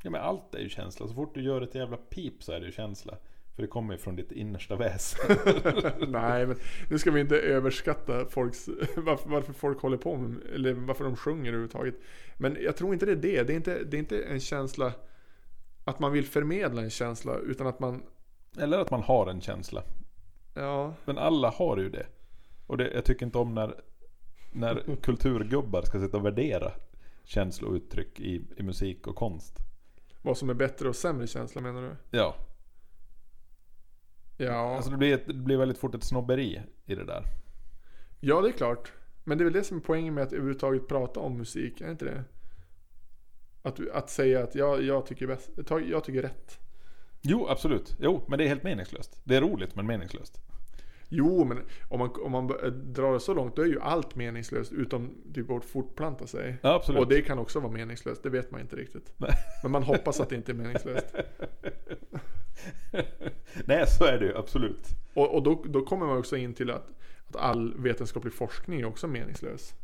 Ja, men allt är ju känsla. Så fort du gör ett jävla pip så är det ju känsla. För det kommer ju från ditt innersta väsen. Nej men nu ska vi inte överskatta folks, varför, varför folk håller på med, eller varför de sjunger överhuvudtaget. Men jag tror inte det är det. Det är inte, det är inte en känsla att man vill förmedla en känsla utan att man, Eller att man har en känsla. ja. Men alla har ju det. Och det, jag tycker inte om när, när kulturgubbar ska sitta och värdera känslor och uttryck i, i musik och konst. Vad som är bättre och sämre känsla menar du? Ja. Ja, Alltså det blir, ett, det blir väldigt fort ett snobberi i det där. ja det är klart. Men det är väl det som är poängen med att överhuvudtaget prata om musik, är det inte det? Att, att säga att jag, jag, tycker bäst, jag tycker rätt. Jo, absolut. Jo, men det är helt meningslöst. Det är roligt, men meningslöst. Jo, men om man, om man b- drar det så långt då är ju allt meningslöst utom typ att fortplanta sig. Ja, absolut. Och det kan också vara meningslöst, det vet man inte riktigt. Nej. Men man hoppas att det inte är meningslöst. Nej, så är det ju. Absolut. Och, och då, då kommer man också in till att, att all vetenskaplig forskning är också meningslös.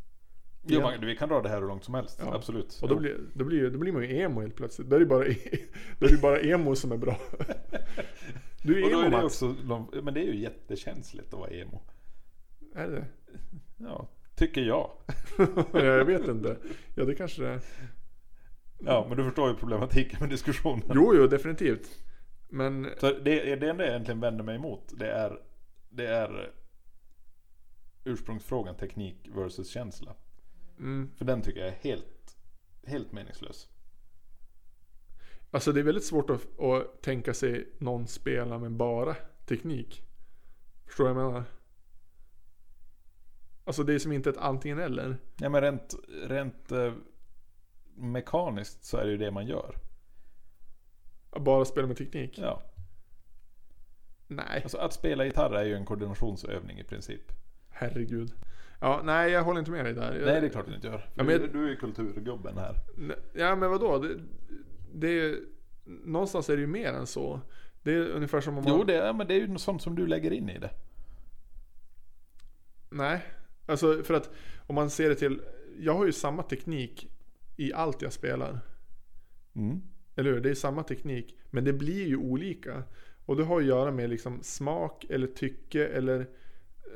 Jo, Ja. man, vi kan dra det här hur långt som helst. Ja. Absolut. Och då Jo. blir, då, blir, då blir man ju emo helt plötsligt. Då är det bara, e-, då är det bara emo som är bra. Du är och då emo är det Mats. också, de- Men det är ju jättekänsligt att vara emo. Är det Ja, tycker jag. det? Jag vet inte. Ja det kanske det är. Ja, men du förstår ju problematiken med diskussionen. Jo, jo definitivt. Men Så det, det enda jag egentligen vänder mig emot det är, det är ursprungsfrågan teknik versus känsla. mm, För den tycker jag är helt, helt meningslös. alltså det är väldigt svårt att, att tänka sig någon spela med bara teknik. Förstår du vad jag menar? Alltså det är som inte ett antingen eller. Ja, men rent, rent eh, mekaniskt så är det ju det man gör. Att bara spela med teknik. Ja. Nej, Alltså att spela gitarr är ju en koordinationsövning i princip. herregud. Ja, nej jag håller inte med dig där. Jag- Nej, det är klart du inte gör. Ja, För men- du, du är ju kulturgubben här. Nej, Ja men vadå? Det, det är, ju- någonstans är det ju mer än så. Det är ungefär som om man... Jo, det, ja, men det är ju något sånt som du lägger in i det. Nej. Alltså för att om man ser det till... Jag har ju samma teknik i allt jag spelar. Mm. Eller hur? Det är samma teknik. Men det blir ju olika. Och det har att göra med liksom smak eller tycke eller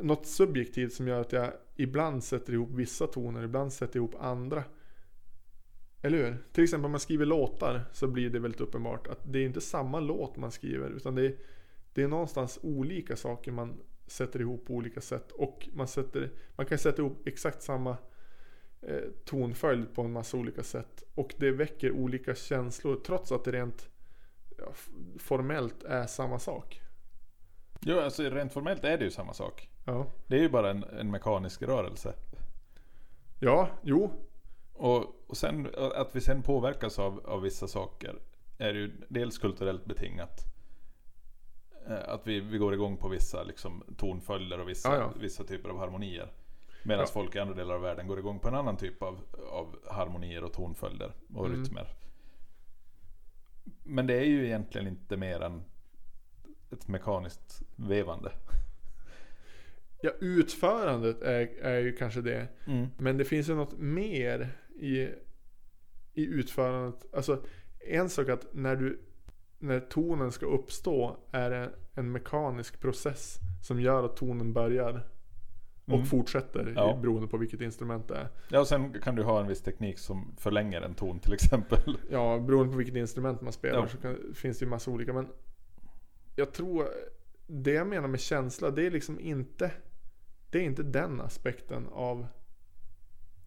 något subjektivt som gör att jag ibland sätter ihop vissa toner, ibland sätter ihop andra. Eller hur? Till exempel om man skriver låtar så blir det väldigt uppenbart att det är inte samma låt man skriver utan det är, det är någonstans olika saker man sätter ihop på olika sätt och man, sätter, man kan sätta ihop exakt samma eh, tonföljd på en massa olika sätt. Och det väcker olika känslor trots att det rent ja, f- formellt är samma sak. Jo, alltså rent formellt är det ju samma sak. Ja, Det är ju bara en, en mekanisk rörelse. ja jo. Och, och sen, att vi sen påverkas av, av vissa saker är ju dels kulturellt betingat. Eh, Att vi, vi går igång på vissa liksom, tonföljder och vissa, Ja, ja. vissa typer av harmonier. Medan Ja. folk i andra delar av världen går igång på en annan typ av, av harmonier och tonföljder och Mm. rytmer. Men det är ju egentligen inte mer än ett mekaniskt vevande. Ja, utförandet är, är ju kanske det. Men det finns ju något mer i, i utförandet. Alltså en sak att när, du, när tonen ska uppstå är det en mekanisk process som gör att tonen börjar och Mm. fortsätter i- Ja. beroende på vilket instrument det är. Ja, och sen kan du ha en viss teknik som förlänger en ton till exempel. Ja, beroende på vilket instrument man spelar Ja. så kan, finns det ju massa olika. Men jag tror, det jag menar med känsla, det är liksom inte, det är inte den aspekten av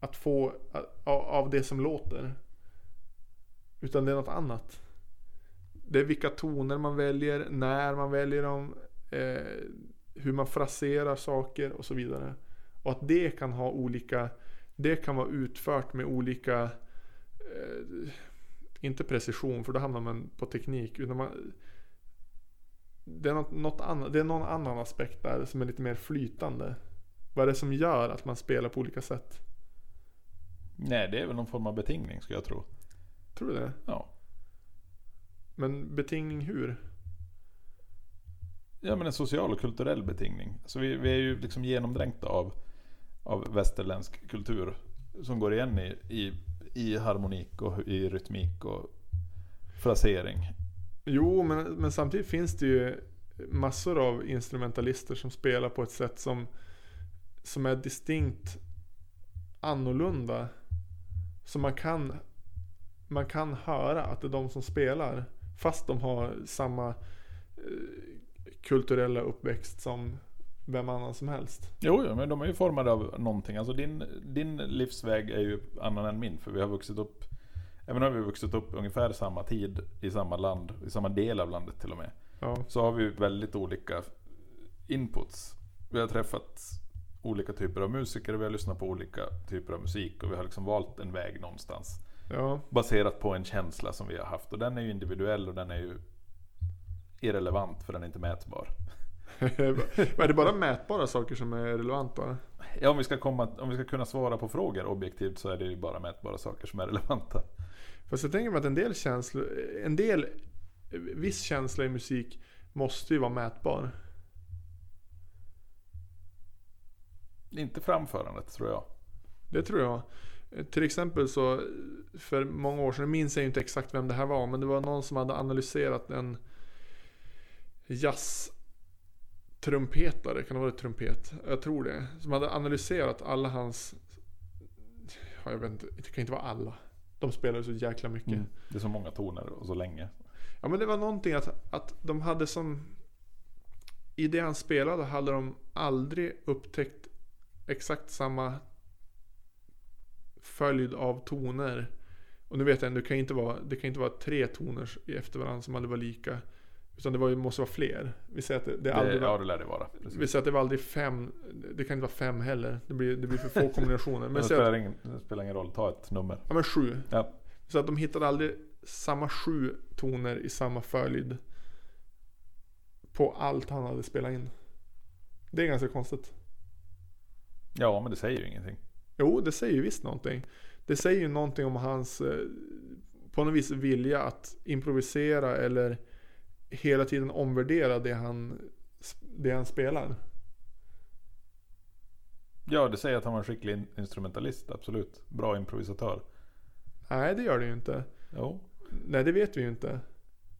att få, av, av det som låter. Utan det är något annat. Det är vilka toner man väljer, när man väljer dem, eh, hur man fraserar saker och så vidare. Och att det kan ha olika, det kan vara utfört med olika eh, inte precision för då hamnar man på teknik. Utan man, det är, något, något annat, det är någon annan aspekt där som är lite mer flytande. Vad är det som gör att man spelar på olika sätt? Nej, det är väl någon form av betingning skulle jag tro. Tror du det? Ja. Men betingning hur? Ja men en social och kulturell betingning. Så vi, vi är ju liksom genomdränkta av, av västerländsk kultur. Som går igen i, i, i harmonik och i rytmik och frasering. Jo, men, men samtidigt finns det ju massor av instrumentalister som spelar på ett sätt som, som är distinkt annorlunda. Så man kan, man kan höra att det är de som spelar. Fast de har samma eh, kulturella uppväxt som vem annan som helst. Jo, jo, men de är ju formade av någonting. Alltså din, din livsväg är ju annan än min. För vi har vuxit upp, även om vi har vuxit upp ungefär samma tid i samma land, i samma del av landet till och med. Ja, Så har vi ju väldigt olika inputs. Vi har träffat olika typer av musiker och vi har lyssnat på olika typer av musik. Och vi har liksom valt en väg någonstans. ja, Baserat på en känsla som vi har haft. Och den är ju individuell och den är ju irrelevant för den är inte mätbar. Men är det bara mätbara saker som är relevanta? Ja, om vi, ska komma, om vi ska kunna svara på frågor objektivt så är det ju bara mätbara saker som är relevanta. Fast jag tänker mig att en del känslor, en del, viss känsla i musik måste ju vara mätbar. Inte framförandet tror jag. Det tror jag. Eh, Till exempel så, för många år sedan, jag minns jag ju inte exakt vem det här var, men det var någon som hade analyserat en jazztrumpetare, kan det vara trumpet? Jag tror det. Som hade analyserat alla hans, ja, jag vet inte, det kan inte vara alla. De spelade så jäkla mycket. Det är så många toner och så länge. Ja men det var någonting att, att de hade som... I det han spelade hade de aldrig upptäckt exakt samma följd av toner. Och nu vet jag det kan inte vara, det kan inte vara tre toner efter varandra som aldrig var lika. Utan det var, ju- måste vara fler. Vi säger att det, det Det, aldrig ja, var, det lär det vara. Precis. vi säger att det var aldrig fem. Det kan inte vara fem heller. Det blir, det blir för få kombinationer. Men det, Men säg att, spelar ingen, det spelar ingen roll, ta ett nummer. ja men sju. Ja. Så att de hittade aldrig samma sju toner i samma följd. På allt han hade spelat in. Det är ganska konstigt. ja, men det säger ju ingenting. Jo, det säger ju visst någonting. Det säger ju någonting om hans eh, på något vis vilja att improvisera eller hela tiden omvärdera det han, det han spelar. Ja, det säger att han var en skicklig in- instrumentalist, absolut. Bra improvisatör. Nej, det gör det ju inte. Jo. Nej, det vet vi ju inte.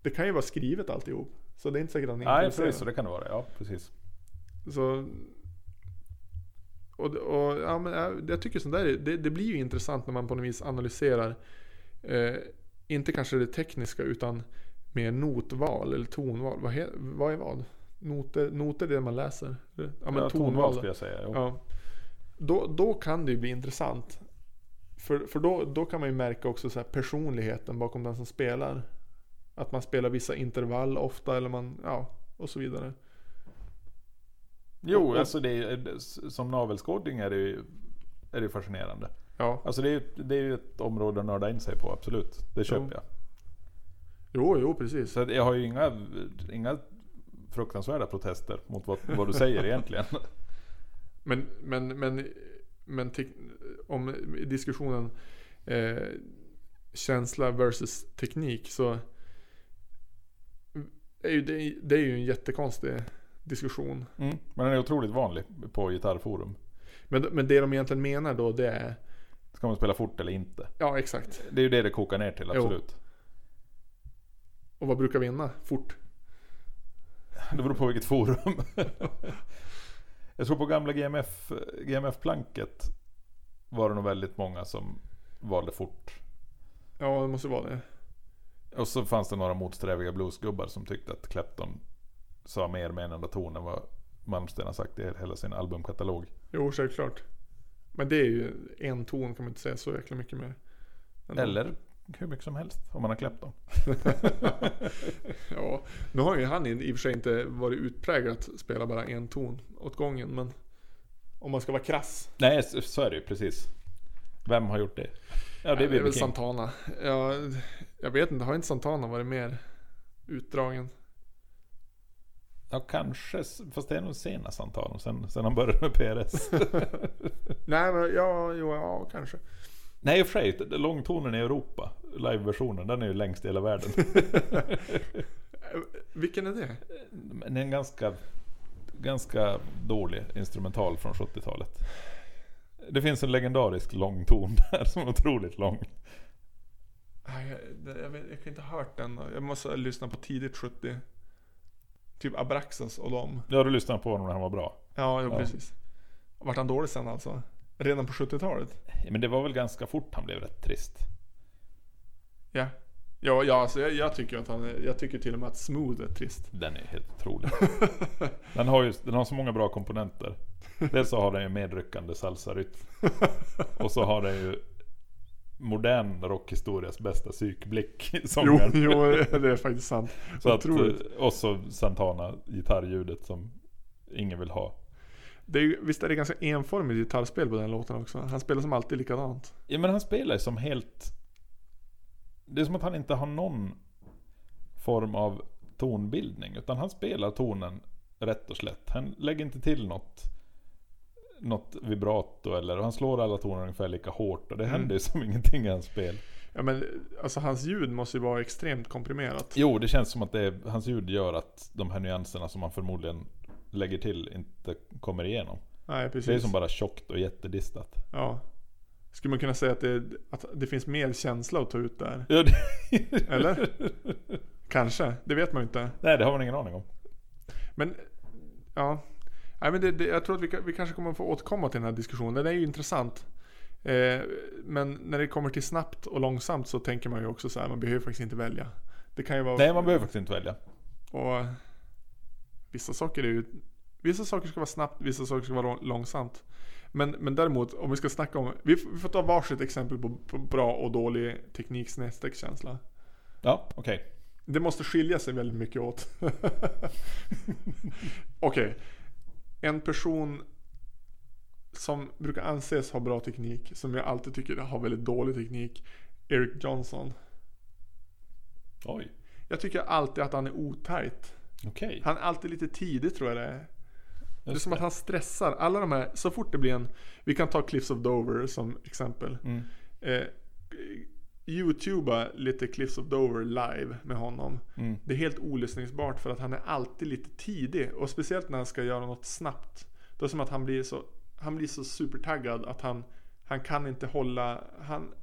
Det kan ju vara skrivet alltihop. Så det är inte säkert att han Nej, improviserar. förvisso, det kan det vara. Ja, precis. Så, och, och, ja, men jag, jag tycker sånt där, är- det, det blir ju intressant när man på något vis analyserar. Eh, inte kanske det tekniska utan mer notval eller tonval. Vad, he, vad är vad? Noter, noter är det man läser. Ja men Ja, tonval. tonval skulle jag säga. Jo. Ja. Då, då kan det ju bli intressant. För, för då, då kan man ju märka också så här personligheten bakom den som spelar. Att man spelar vissa intervall ofta eller man, ja och så vidare. Jo, Och- alltså det är, som navelskådning är det ju är det ju fascinerande. Ja, Alltså det är, ju- det är ju ett område att nörda in sig på, absolut. Det köper jag. jo, jo precis. Så att jag har ju inga, inga fruktansvärda protester mot vad, vad du säger egentligen. Men, men, men, men tek- om diskussionen eh, känsla versus teknik så är ju det, det är ju en jättekonstig diskussion. Mm. Men den är otroligt vanlig på gitarrforum. Men, men det de egentligen menar då det är, Ska man spela fort eller inte? ja exakt. Det är ju det det kokar ner till, Jo. absolut. Och vad brukar vinna? Fort. Det beror på vilket forum. jag tror på gamla GMF, GMF-planket var det nog väldigt många som valde fort. Ja det måste vara det. Och så fanns det några motsträviga bluesgubbar som tyckte att Clapton sa mer med en enda ton än vad Malmsteen har sagt i hela sin albumkatalog. Jo självklart. Men det är ju en ton kan man inte säga så jäkla mycket mer. Ändå. Eller hur mycket som helst om man har Clapton. ja, nu har ju han i i och för sig inte varit utpräglat spela bara en ton åt gången men om man ska vara krass. Nej, s- så är det ju precis. Vem har gjort det? Ja, det är det är BB väl King. Santana. Ja, jag vet inte, har inte Santana varit mer utdragen? Ja kanske, s- fast det är nog senast han tar dem sen, sen han började med PRS. Nej men ja, jo, ja kanske. Nej i och för sig, det- långtonen i Europa, liveversionen, den är ju längst i hela världen. Eh, Vilken är det? Men det är en ganska, ganska dålig instrumental från 70-talet. Det finns en legendarisk långton där som är otroligt lång. Nej, jag, det- jag, vet, jag kan inte ha hört den. Jag måste lyssna på tidigt 70. Typ Abraxas och dem. Ja, du lyssnade på honom när han var bra. Ja, jo, Ja. precis. Vart han dålig sen alltså? Redan på 70-talet? Ja, Men det var väl ganska fort han blev rätt trist. Ja. Ja, ja alltså jag, jag tycker att han är, Jag tycker till och med att Smooth är trist. Den är helt otrolig. Den har, ju, den har så många bra komponenter. Dels så har den ju medryckande salsarytm. Och så har den ju modern rockhistorias bästa psykblick i jo, sången. jo, det är faktiskt sant. så att, otroligt. eh, och så Santana gitarrljudet som ingen vill ha. Det är, ju- visst är det ganska enformigt gitarrspel på den låten också? Han spelar som alltid likadant. Ja men han spelar ju som helt... Det är som att han inte har någon form av tonbildning. Utan han spelar tonen rätt och slätt. Han lägger inte till något, något vibrato eller... Och han slår alla toner ungefär lika hårt. Och det Mm. händer ju som ingenting i hans spel. Ja men alltså hans ljud måste ju vara extremt komprimerat. Jo, det känns som att det är, hans ljud gör att de här nyanserna som han förmodligen lägger till inte kommer igenom. Nej precis. Det är som bara tjockt och jättedistat. Ja. Skulle man kunna säga att det, att det finns mer känsla att ta ut där? Ja, det, Eller? Kanske, det vet man ju inte. nej, det har man ingen aning om. Men ja. Nej, men det, det, jag tror att vi, ka- vi kanske kommer få återkomma till den här diskussionen. Den är ju intressant. Eh, men när det kommer till snabbt och långsamt så tänker man ju också så här, man behöver faktiskt inte välja. Det kan ju vara... Nej, man behöver faktiskt inte välja. Och, vissa saker är ju... Vissa saker ska vara snabbt, vissa saker ska vara lång- långsamt. Men, men däremot, om vi ska snacka om... Vi, f- vi får ta varsitt exempel på, på bra och dålig teknik snedstreck känsla. Ja, okej. Det måste skilja sig väldigt mycket åt. Okej. En person som brukar anses ha bra teknik, som jag alltid tycker har väldigt dålig teknik. Eric Johnson. Oj. Jag tycker alltid att han är otajt. Okej. Han är alltid lite tidig tror jag det är. Det är Just som att han stressar. Alla de här, så fort det blir en... Vi kan ta Cliffs of Dover som exempel. Mm. Eh, Youtuba lite Cliffs of Dover live med honom. Mm. Det är helt olyssningsbart för att han är alltid lite tidig. Och speciellt när han ska göra något snabbt. Det är som att han blir så, han blir så supertaggad att han, han kan inte hålla... Han,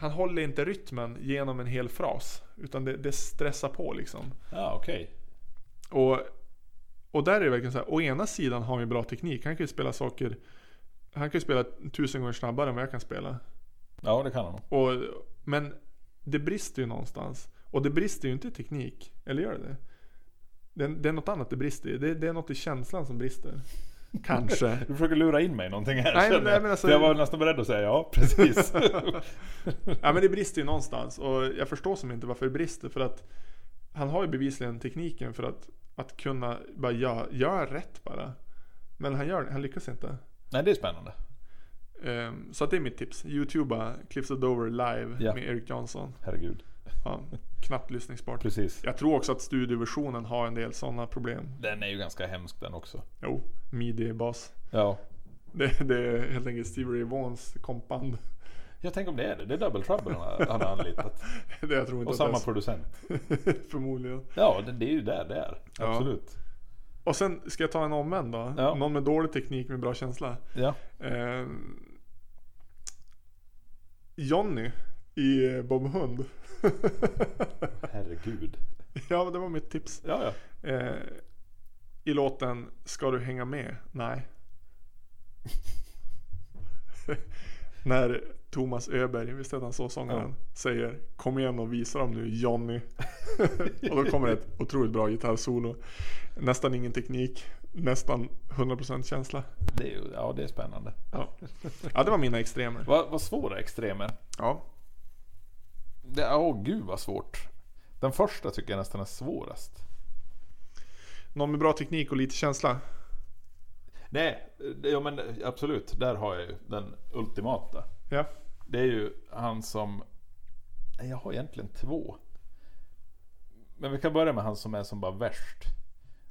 han håller inte rytmen genom en hel fras. Utan det, det stressar på liksom. Ja, okej. Och, och där är det verkligen så här, å ena sidan har han ju bra teknik. Han kan ju spela saker... Han kan ju spela tusen gånger snabbare än vad jag kan spela. Ja, det kan han nog. Och, men det brister ju någonstans. Och det brister ju inte i teknik. Eller gör det det? Det, det är något annat det brister i. Det, det är något i känslan som brister. Kanske. Du försöker lura in mig i någonting här. Nej, men- känner jag. nej, men alltså- För jag var nästan beredd att säga ja, precis. ja men det brister ju någonstans. Och jag förstår som inte varför det brister. För att han har ju bevisligen tekniken för att, att kunna bara göra gör rätt bara. Men han, gör, han lyckas inte. nej, det är spännande. Ehm, så att det är mitt tips. Youtuba Cliffs of Dover live Ja. med Eric Johnson. Herregud. Ja, knappt lyssningsbart. Precis. Jag tror också att studioversionen har en del sådana problem. Den är ju ganska hemsk den också. Jo, midi-bas. Ja. Det, det är helt enkelt Stevie Ray Vaughans kompband. Jag tänker om det är det. Det är Double Trouble han har- han har anlitat. Det jag tror inte Och att samma det producent. är så- Förmodligen. Ja, det, det är ju där det är. Ja. Absolut. Och sen ska jag ta en omvänd då. Ja. Någon med dålig teknik med bra känsla. Ja. Ehm, Johnny i Bob Hund. Herregud. ja, det var mitt tips. Ja, ja. Eh, I låten Ska du hänga med? Nej. När Thomas Öberg, visst heter han så sångaren, säger Kom igen och visa dem nu Johnny. och då kommer det ett otroligt bra gitarrsolo. Nästan ingen teknik, nästan 100% känsla. Det är, ju- ja, det är spännande. Ja, ja det var mina extremer. Vad, vad svåra extremer. Ja. Det- Åh, gud vad svårt. Den första tycker jag nästan är svårast. Någon med bra teknik och lite känsla? Nej, det- ja men absolut. Där har jag ju den ultimata. Ja. Det är ju han som... Nej, jag har egentligen två. Men vi kan börja med han som är som bara värst.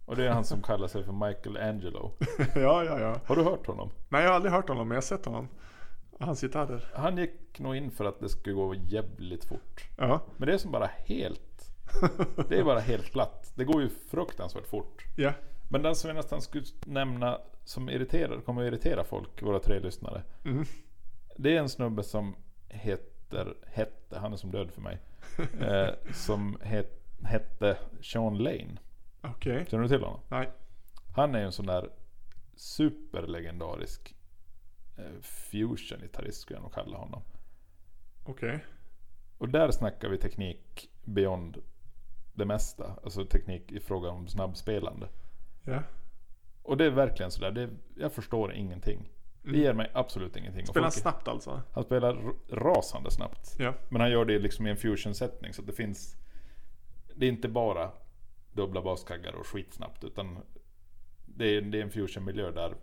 Och Och det är han som kallar sig för Michelangelo. ja, ja, ja. Har du hört honom? Nej, jag har aldrig hört honom, men jag har sett honom. Hans gitarrer. Han gick nog in för att det skulle gå jävligt fort. Ja. Men det är som bara helt... Det är bara helt platt. Det går ju fruktansvärt fort. Ja. Men den som jag nästan skulle nämna som irriterar, kommer att irritera folk, våra tre lyssnare. Mm. Det är en snubbe som heter, hette, han är som död för mig. Eh, som het, hette Sean Lane. Okej. Känner du till honom? Nej. Han är ju en sån där superlegendarisk eh, fusion-gitarrist skulle jag nog kalla honom. Okej. Och där snackar vi teknik beyond det mesta. Alltså teknik i fråga om snabbspelande. Ja. Och det är verkligen sådär, det, jag förstår ingenting. Det ger mig absolut ingenting. Och Mm. Spelar folk- snabbt alltså? Han spelar r- rasande snabbt. Ja. Men han gör det liksom i en fusion-sättning. Så att det finns... Det är inte bara dubbla baskaggar och skitsnabbt. Utan det är, det är en fusion-miljö där,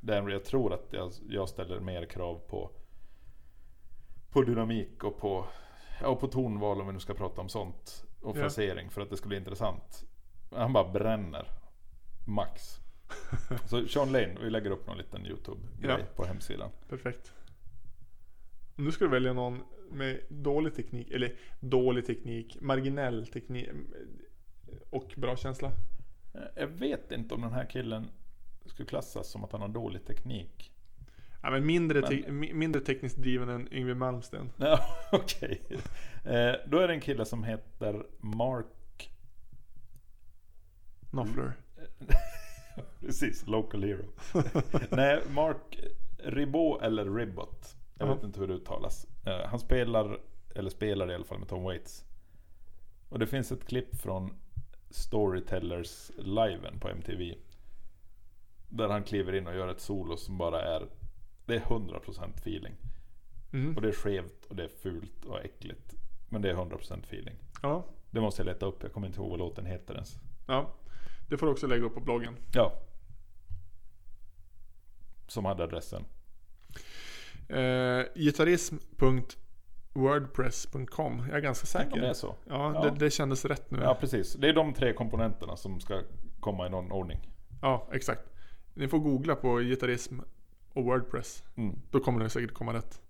där jag tror att jag, jag ställer mer krav på, på dynamik och på, ja, och på tonval om vi nu ska prata om sånt. Och Ja. frasering för att det ska bli intressant. Han bara bränner. Max. Så Sean Lane, vi lägger upp någon liten YouTube-grej Ja. på hemsidan. Perfekt. Nu ska du välja någon med dålig teknik, eller dålig teknik, marginell teknik eh, och bra känsla. Eh, Jag vet inte om den här killen skulle klassas som att han har dålig teknik. Ja, men mindre, Men- te- mi- mindre tekniskt driven än Yngwie Malmsten. Ja, okej. Eh, då är det en kille som heter Mark... Noffler. Precis, Local Hero. Nej, Mark Ribot eller Ribot. Jag Ja. vet inte hur det uttalas. Eh, han spelar, eller spelar i alla fall med Tom Waits. Och det finns ett klipp från Storytellers liven på MTV. Där han kliver in och gör ett solo som bara är... Det är 100% feeling. Mm. Och det är skevt och det är fult och äckligt. Men det är 100% feeling. Ja. Det måste jag leta upp, jag kommer inte ihåg vad låten heter ens. ja. Det får du också lägga upp på bloggen. Ja. Som hade adressen. Eh, Gitarrism.wordpress.com. Jag är ganska Tänk säker. om det är så. Ja, Ja. Det, det kändes rätt nu. Ja Ja. precis, det är de tre komponenterna som ska komma i någon ordning. exakt. Ni får googla på gitarrism och Wordpress. Mm. Då kommer det säkert komma rätt.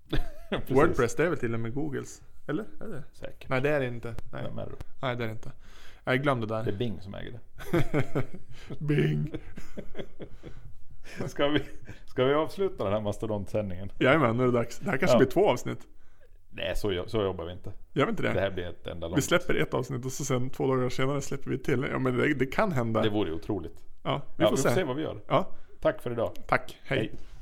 Precis. Wordpress, det är väl till och med Googles? Eller? Är det? Säkert. Nej, det är det inte. Nej, Typ. Vem är det då? Nej det är det inte. Nej, glöm det Det där. är Bing som äger det. Bing! Ska vi, ska vi avsluta den här mastodontsändningen? Jajamän, nu är det dags. Det här kanske Ja. blir två avsnitt. Nej, så, jo- så jobbar vi inte. Gör vi inte det? Det här blir ett enda vi långt. släpper ett avsnitt och så sen två dagar senare släpper vi ett till. Ja, men det, det kan hända. Det vore ju otroligt. Ja, vi Ja, får vi får se se. vad vi gör. Ja, Tack för idag. tack. Hej. Hej.